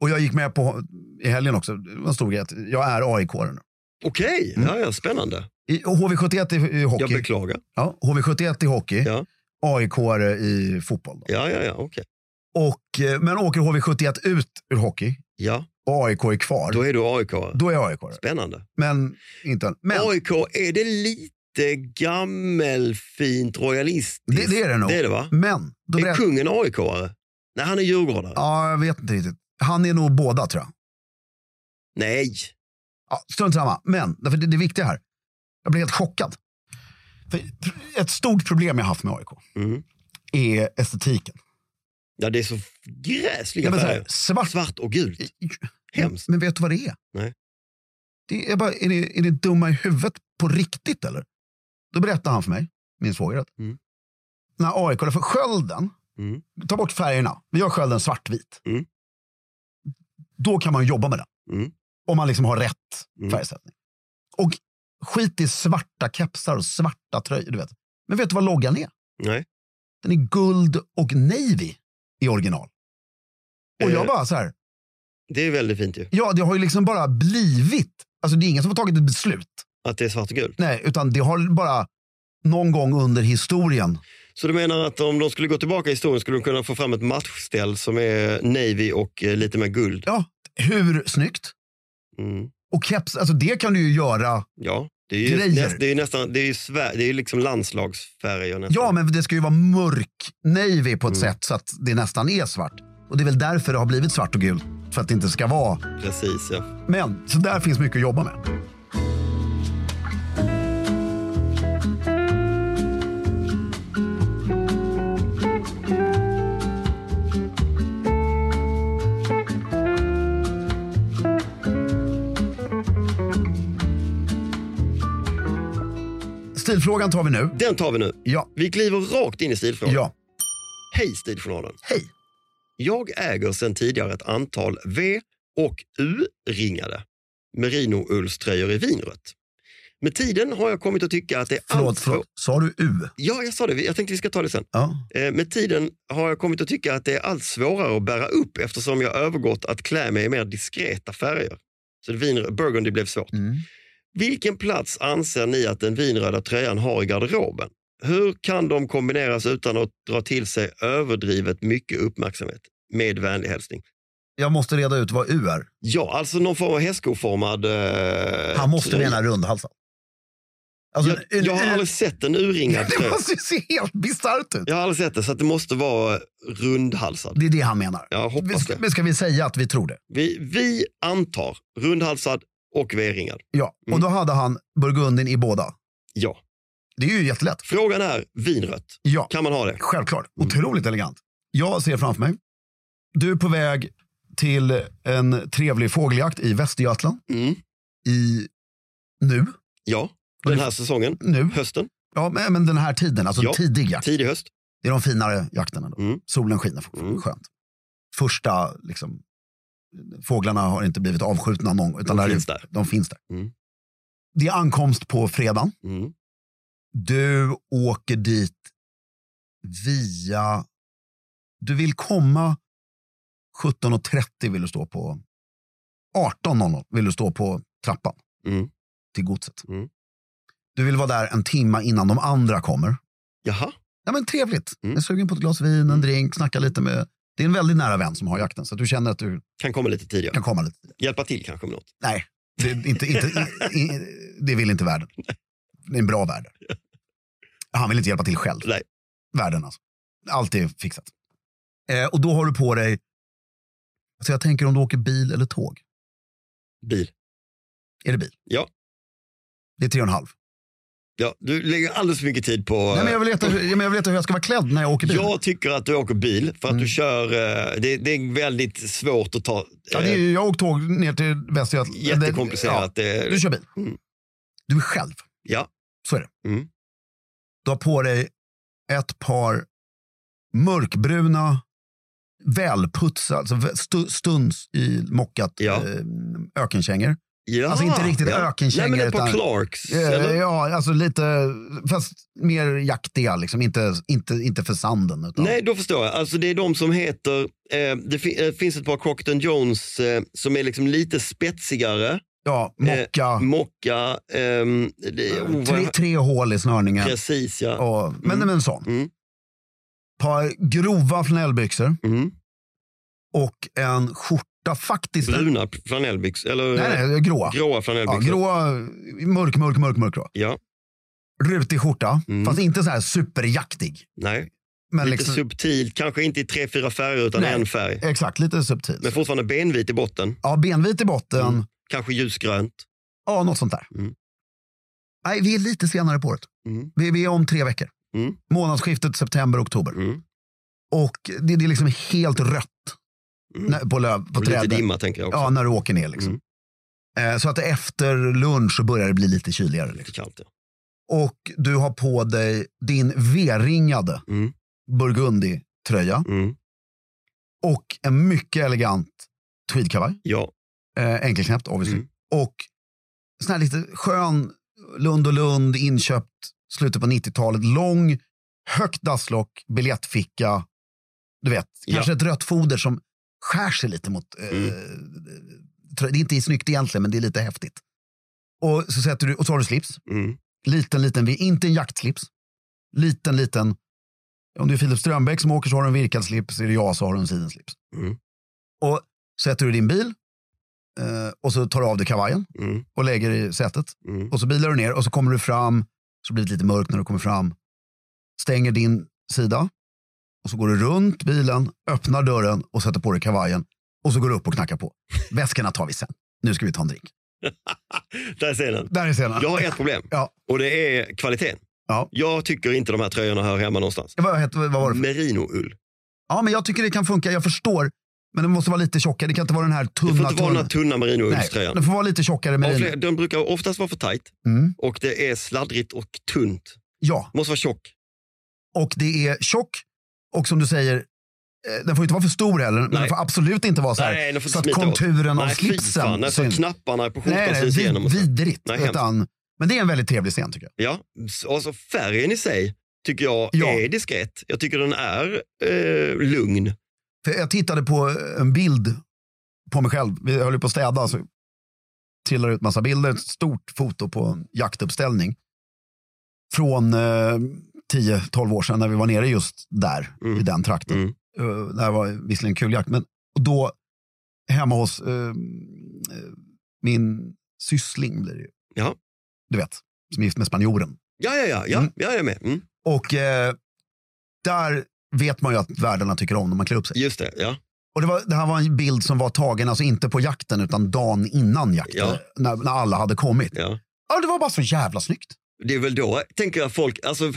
Speaker 1: Och jag gick med på, i helgen också, det var en stor grej, att jag är AIK-are nu.
Speaker 2: Okej, ja, ja, spännande.
Speaker 1: I- och HV71 i, i
Speaker 2: Jag
Speaker 1: Mm. hockey.
Speaker 2: beklagar.
Speaker 1: Ja, HV71 i hockey,
Speaker 2: Ja.
Speaker 1: AIK i fotboll. Då.
Speaker 2: Ja, ja, ja, okej.
Speaker 1: Och, eh, men åker HV71 ut ur hockey
Speaker 2: Ja,
Speaker 1: och AIK är kvar,
Speaker 2: då
Speaker 1: då är,
Speaker 2: är du AIK.
Speaker 1: jag AIK. are.
Speaker 2: Spännande.
Speaker 1: Men inte än. Men
Speaker 2: AIK, är det lite gammelfint royalistiskt?
Speaker 1: det, det är det nog.
Speaker 2: Det är det va?
Speaker 1: Men, då
Speaker 2: är
Speaker 1: berätt,
Speaker 2: kungen AIK-are? Nej, han är djurgårdare.
Speaker 1: ja, jag vet inte riktigt. Han är nog båda tror jag.
Speaker 2: Nej,
Speaker 1: Ja, strunt samma. Men, därför det, det viktiga här. Jag blev helt chockad. För ett stort problem jag haft med AIK
Speaker 2: Mm.
Speaker 1: är estetiken.
Speaker 2: ja, det är så gräsliga
Speaker 1: Ja, men så här, Mm.
Speaker 2: färger.
Speaker 1: svart.
Speaker 2: Svart och gult. Hemskt.
Speaker 1: Men vet du vad det är?
Speaker 2: Nej.
Speaker 1: Det är, bara, är, ni, är ni dumma i huvudet på riktigt eller? Då berättade han för mig, min svåger, att
Speaker 2: Mm.
Speaker 1: när AIK, för skölden,
Speaker 2: Mm.
Speaker 1: ta bort färgerna, vi gör skölden svartvit.
Speaker 2: Mm.
Speaker 1: Då kan man jobba med den.
Speaker 2: Mm.
Speaker 1: Om man liksom har rätt
Speaker 2: Mm.
Speaker 1: färgsättning. Och Skit i svarta kepsar och svarta tröjor, du vet. Men vet du vad loggan är?
Speaker 2: Nej.
Speaker 1: Den är guld och navy i original. Och jag
Speaker 2: Eh.
Speaker 1: bara så här,
Speaker 2: Det är väldigt fint ju,
Speaker 1: ja, det har ju liksom bara blivit. Alltså det är ingen som har tagit ett beslut.
Speaker 2: att det är svart och gul.
Speaker 1: Nej, utan det har bara någon gång under historien.
Speaker 2: Så du menar att om de skulle gå tillbaka i historien skulle de kunna få fram ett matchställ som är navy och eh, lite mer guld?
Speaker 1: Ja, hur snyggt?
Speaker 2: Mm.
Speaker 1: Och keps, alltså det kan du ju göra.
Speaker 2: Ja, det är ju,
Speaker 1: Grejer.
Speaker 2: näst, det är ju nästan, det är ju, svär, det är ju liksom landslagsfärger nästan.
Speaker 1: Ja, men det ska ju vara mörk navy på ett sätt så att det nästan är svart. Och det är väl därför det har blivit svart och gult. För att det inte ska vara.
Speaker 2: Precis, ja.
Speaker 1: Men, så där finns mycket att jobba med. Stilfrågan tar vi nu.
Speaker 2: Den tar vi nu.
Speaker 1: Ja.
Speaker 2: Vi kliver rakt in i stilfrågan.
Speaker 1: Ja.
Speaker 2: Hej Stiljournalen!
Speaker 1: Hej.
Speaker 2: Jag äger sedan tidigare ett antal V och U-ringade merino-ullströjor i vinrött. Med tiden har jag kommit att tycka att det är
Speaker 1: Förlåt,
Speaker 2: allt för-
Speaker 1: förlåt. Sa du U?
Speaker 2: Ja, jag sa det. Jag tänkte vi ska ta det sen.
Speaker 1: Ja.
Speaker 2: Eh, Med tiden har jag kommit att tycka att det är allt svårare att bära upp eftersom jag övergått att klä mig i mer diskreta färger. Så det vinrö- burgundy blev svårt.
Speaker 1: Mm.
Speaker 2: Vilken plats anser ni att den vinröda tröjan har i garderoben? Hur kan de kombineras utan att dra till sig överdrivet mycket uppmärksamhet? Med vänlig hälsning.
Speaker 1: Jag måste reda ut vad U är.
Speaker 2: Ja, alltså någon form av hästskoformad... Eh,
Speaker 1: Han måste
Speaker 2: tröja.
Speaker 1: mena rundhalsad. Alltså,
Speaker 2: jag,
Speaker 1: en
Speaker 2: jag har
Speaker 1: U-
Speaker 2: aldrig sett en urringad
Speaker 1: Det
Speaker 2: tröja.
Speaker 1: måste ju se helt bisarrt ut.
Speaker 2: Jag har aldrig sett det, så att det måste vara rundhalsad.
Speaker 1: Det är det han menar.
Speaker 2: Jag
Speaker 1: Vi
Speaker 2: hoppas
Speaker 1: ska,
Speaker 2: det.
Speaker 1: men ska vi säga att vi tror det?
Speaker 2: Vi, vi antar rundhalsad och V-ringad.
Speaker 1: Ja. Och
Speaker 2: Mm.
Speaker 1: då hade han burgundin i båda.
Speaker 2: Ja.
Speaker 1: Det är ju jättelätt.
Speaker 2: Frågan är vinrött.
Speaker 1: Ja,
Speaker 2: Kan Mm. man ha det?
Speaker 1: självklart. Otroligt elegant. Jag ser framför mig. Du är på väg till en trevlig fågeljakt i Västergötland.
Speaker 2: Mm.
Speaker 1: I nu.
Speaker 2: Ja. Den här säsongen.
Speaker 1: Nu.
Speaker 2: Hösten.
Speaker 1: Ja, men men den här tiden. Alltså
Speaker 2: Ja.
Speaker 1: tidig jakt.
Speaker 2: Tidig höst.
Speaker 1: Det är de finare jakterna. Då.
Speaker 2: Mm.
Speaker 1: Solen skiner fortfarande.
Speaker 2: Mm.
Speaker 1: Skönt. Första, liksom, fåglarna har inte blivit avskjutna någon gång. Utan
Speaker 2: De
Speaker 1: är-
Speaker 2: finns där.
Speaker 1: De finns där.
Speaker 2: Mm.
Speaker 1: Det är ankomst på fredagen.
Speaker 2: Mm.
Speaker 1: Du åker dit via... Du vill komma 17.30 vill du stå på... 18.00 vill du stå på trappan
Speaker 2: Mm.
Speaker 1: till godset.
Speaker 2: Mm.
Speaker 1: Du vill vara där en timma innan de andra kommer.
Speaker 2: Jaha.
Speaker 1: Ja, men trevligt.
Speaker 2: Mm.
Speaker 1: Jag är sugen på ett glas vin, en drink, snacka lite med... Det är en väldigt nära vän som har jakten, så att du känner att du
Speaker 2: Kan komma lite tidigare.
Speaker 1: kan komma lite.
Speaker 2: Hjälpa till kanske med något.
Speaker 1: Nej, det, är inte, inte, i, i, det vill inte världen. Det är en bra värld. Han vill inte hjälpa till själv.
Speaker 2: Nej.
Speaker 1: Världen alltså. Allt är fixat. Eh, och då har du på dig... Alltså jag tänker om du åker bil eller tåg.
Speaker 2: Bil.
Speaker 1: Är det bil?
Speaker 2: Ja.
Speaker 1: Det är tre och en halv.
Speaker 2: Ja, du lägger alldeles för mycket tid på...
Speaker 1: Nej, men jag, vill veta, hur- men jag vill veta hur jag ska vara klädd när jag åker bil. Mm.
Speaker 2: Jag tycker att du åker bil för att du kör... eh, Det, det är väldigt svårt att ta...
Speaker 1: Ja, det är,
Speaker 2: eh,
Speaker 1: ju- jag åkte tåg ner till Västergötland.
Speaker 2: Jättekomplicerat.
Speaker 1: Ja,
Speaker 2: Det-
Speaker 1: du kör bil.
Speaker 2: Mm.
Speaker 1: Du är själv.
Speaker 2: Ja.
Speaker 1: Så är det.
Speaker 2: Mm.
Speaker 1: Du har på dig ett par mörkbruna, välputsade, alltså stu- stunds i mockat
Speaker 2: Ja.
Speaker 1: eh, ökenkängor.
Speaker 2: Ja.
Speaker 1: Alltså inte riktigt ökenkängor,
Speaker 2: Nej, men det är
Speaker 1: utan-
Speaker 2: på Clarks.
Speaker 1: Eh,
Speaker 2: eller?
Speaker 1: ja, alltså lite, fast mer jaktiga, liksom. inte, inte, inte för sanden. Utan,
Speaker 2: Nej, då förstår jag. Alltså det är de som heter... Eh, det fi- eh, finns ett par Crockton Jones eh, som är liksom lite spetsigare.
Speaker 1: ja, mocka,
Speaker 2: Eh, Mocka. ehm, det, oh, vad-
Speaker 1: tre, tre hål i snörningen.
Speaker 2: Precis, ja.
Speaker 1: Och, men,
Speaker 2: Mm.
Speaker 1: men sån.
Speaker 2: Mm.
Speaker 1: Par grova flanellbyxor.
Speaker 2: Mm.
Speaker 1: och en skjorta faktiskt.
Speaker 2: Bruna flanellbyxor, eller
Speaker 1: Nej, nej, gråa.
Speaker 2: gråa
Speaker 1: Ja,
Speaker 2: flanellbyxor.
Speaker 1: gråa, mörk, mörk, mörk, mörk grå.
Speaker 2: Ja,
Speaker 1: Rutig skjorta,
Speaker 2: Mm.
Speaker 1: fast inte så här superjaktig.
Speaker 2: nej.
Speaker 1: Men
Speaker 2: Lite
Speaker 1: liksom,
Speaker 2: subtilt, kanske inte i tre, fyra färger utan
Speaker 1: Nej.
Speaker 2: en färg.
Speaker 1: Exakt, lite subtil.
Speaker 2: Men fortfarande benvit i botten,
Speaker 1: Ja, benvit i botten,
Speaker 2: Mm. kanske ljusgrönt.
Speaker 1: ja, något sånt där.
Speaker 2: Mm.
Speaker 1: Nej, vi är lite senare på året.
Speaker 2: Mm.
Speaker 1: Vi, vi är om tre veckor.
Speaker 2: Mm.
Speaker 1: Månadsskiftet september-oktober.
Speaker 2: Mm.
Speaker 1: Och det, det är liksom helt rött
Speaker 2: Mm.
Speaker 1: när, på, löv, på
Speaker 2: Och lite
Speaker 1: träden.
Speaker 2: dimma tänker jag också. Mm.
Speaker 1: Ja, när du åker ner. Liksom. Eh, så att efter lunch så börjar det bli lite kyligare. Liksom.
Speaker 2: Lite kallt, ja.
Speaker 1: och du har på dig din V-ringade
Speaker 2: Mm.
Speaker 1: burgundy-tröja
Speaker 2: Mm.
Speaker 1: och en mycket elegant tweedkavaj,
Speaker 2: ja.
Speaker 1: eh, enkelknäppt obviously,
Speaker 2: Mm.
Speaker 1: och sån här lite skön Lund och Lund, inköpt slutet på 90-talet. Lång, högt dasslock, biljettficka. Du vet, kanske ett rött foder som skär sig lite mot... eh, trö- Det är inte snyggt egentligen, men det är lite häftigt. Och så, sätter du, och så har du slips.
Speaker 2: Mm.
Speaker 1: Liten, liten, vi- inte en jaktslips. Liten, liten. Om det är Filip Strömbäck som åker så har du en virkad slips. Är det jag så har du en sidenslips.
Speaker 2: Mm.
Speaker 1: Och sätter du din bil eh, och så tar du av dig kavajen
Speaker 2: Mm.
Speaker 1: och lägger i sätet.
Speaker 2: Mm.
Speaker 1: Och så bilar du ner och så kommer du fram. Så blir det lite mörkt när du kommer fram. Stänger din sida. Och så går du runt bilen, öppnar dörren och sätter på dig kavajen. Och så går du upp och knackar på. Väskorna tar vi sen. Nu ska vi ta en drink.
Speaker 2: Där ser den.
Speaker 1: Där är scenen.
Speaker 2: Jag har ett problem
Speaker 1: Ja.
Speaker 2: och det är kvaliteten.
Speaker 1: Ja.
Speaker 2: Jag tycker inte de här tröjorna hör hemma någonstans.
Speaker 1: Vad, heter, vad var det för?
Speaker 2: Merinoull.
Speaker 1: Ja, men jag tycker det kan funka. Jag förstår. Men den måste vara lite tjockare. Det kan inte vara den här tunna.
Speaker 2: Det får inte vara den här
Speaker 1: tunna-
Speaker 2: tunna
Speaker 1: Nej,
Speaker 2: merinoullströjan.
Speaker 1: den får vara lite tjockare.
Speaker 2: Av
Speaker 1: Med
Speaker 2: flera- Den brukar oftast vara för tajt
Speaker 1: Mm.
Speaker 2: och det är sladdrigt och tunt.
Speaker 1: Ja,
Speaker 2: Måste vara tjock.
Speaker 1: och det är tjock. Och som du säger, eh, den får inte vara för stor heller. Men
Speaker 2: Nej.
Speaker 1: den får absolut inte vara så här.
Speaker 2: den får
Speaker 1: så att
Speaker 2: smita åt.
Speaker 1: konturen av
Speaker 2: Nej, fy fan.
Speaker 1: slipsen
Speaker 2: Nej, så att
Speaker 1: syns.
Speaker 2: knapparna på
Speaker 1: Nej,
Speaker 2: skjortan
Speaker 1: nej,
Speaker 2: syns igenom.
Speaker 1: vid,
Speaker 2: och så.
Speaker 1: vidrigt.
Speaker 2: Nej, hemskt.
Speaker 1: utan, men det är en väldigt trevlig scen tycker jag.
Speaker 2: Ja, och så färgen i sig tycker jag
Speaker 1: Ja.
Speaker 2: är diskret. Jag tycker den är eh, lugn.
Speaker 1: För jag tittade på en bild på mig själv. Vi höll ju på att städa. Så trillade ut massa bilder. Ett stort foto på en jaktuppställning. Från eh, 10-12 år sedan när vi var nere just där,
Speaker 2: Mm.
Speaker 1: i den trakten.
Speaker 2: Mm.
Speaker 1: Eh, det här var visserligen kul jakt, men och då hemma hos eh, eh, min syssling blir det ju.
Speaker 2: Ja.
Speaker 1: Du vet, som är gift med spanjoren.
Speaker 2: Ja, ja, ja, ja,
Speaker 1: Mm.
Speaker 2: ja jag är med. Mm.
Speaker 1: Och eh, där vet man ju att värdarna tycker om när man klär upp sig.
Speaker 2: Just det, ja.
Speaker 1: Och det, var, det här var en bild som var tagen, alltså inte på jakten, utan dagen innan jakten.
Speaker 2: Ja.
Speaker 1: När, när alla hade kommit.
Speaker 2: ja.
Speaker 1: Ja, det var bara så jävla snyggt.
Speaker 2: Det är väl då, tänker jag, folk... Alltså,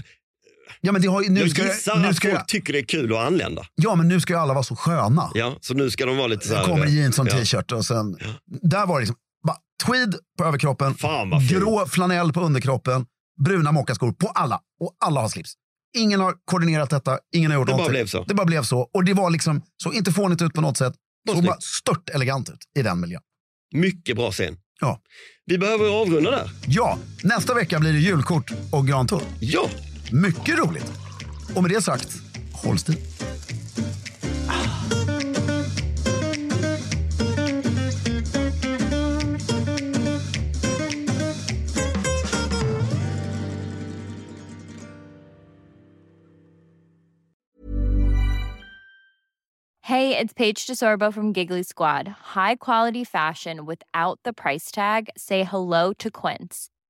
Speaker 1: Ja, men det har, ju- nu
Speaker 2: jag
Speaker 1: ska,
Speaker 2: gissar
Speaker 1: nu
Speaker 2: att
Speaker 1: ska,
Speaker 2: folk tycker det är kul att anlända.
Speaker 1: ja, men nu ska ju alla vara så sköna.
Speaker 2: Ja, så nu ska de vara lite så
Speaker 1: Så
Speaker 2: här... eh,
Speaker 1: kommer i jeans och en
Speaker 2: ja.
Speaker 1: t-shirt och sen... Där var det liksom, bara, tweed på överkroppen,
Speaker 2: Fan vad fint.
Speaker 1: grå flanell på underkroppen, bruna mockaskor på alla. Och alla har slips. Ingen har koordinerat detta, ingen har gjort
Speaker 2: Det bara
Speaker 1: någonting.
Speaker 2: blev så.
Speaker 1: Det bara blev så. Och det var liksom så inte fånigt ut på något sätt.
Speaker 2: Bara
Speaker 1: Så
Speaker 2: snyggt.
Speaker 1: bara stört elegant ut i den miljön.
Speaker 2: Mycket bra scen.
Speaker 1: Ja.
Speaker 2: Vi behöver avrunda där.
Speaker 1: ja, nästa vecka blir det julkort och grantull.
Speaker 2: Ja,
Speaker 1: Mycket roligt. Och med det sagt, håll stil.
Speaker 4: Hey, it's Paige DeSorbo from Giggly Squad. High quality fashion without the price tag. Say hello to Quince.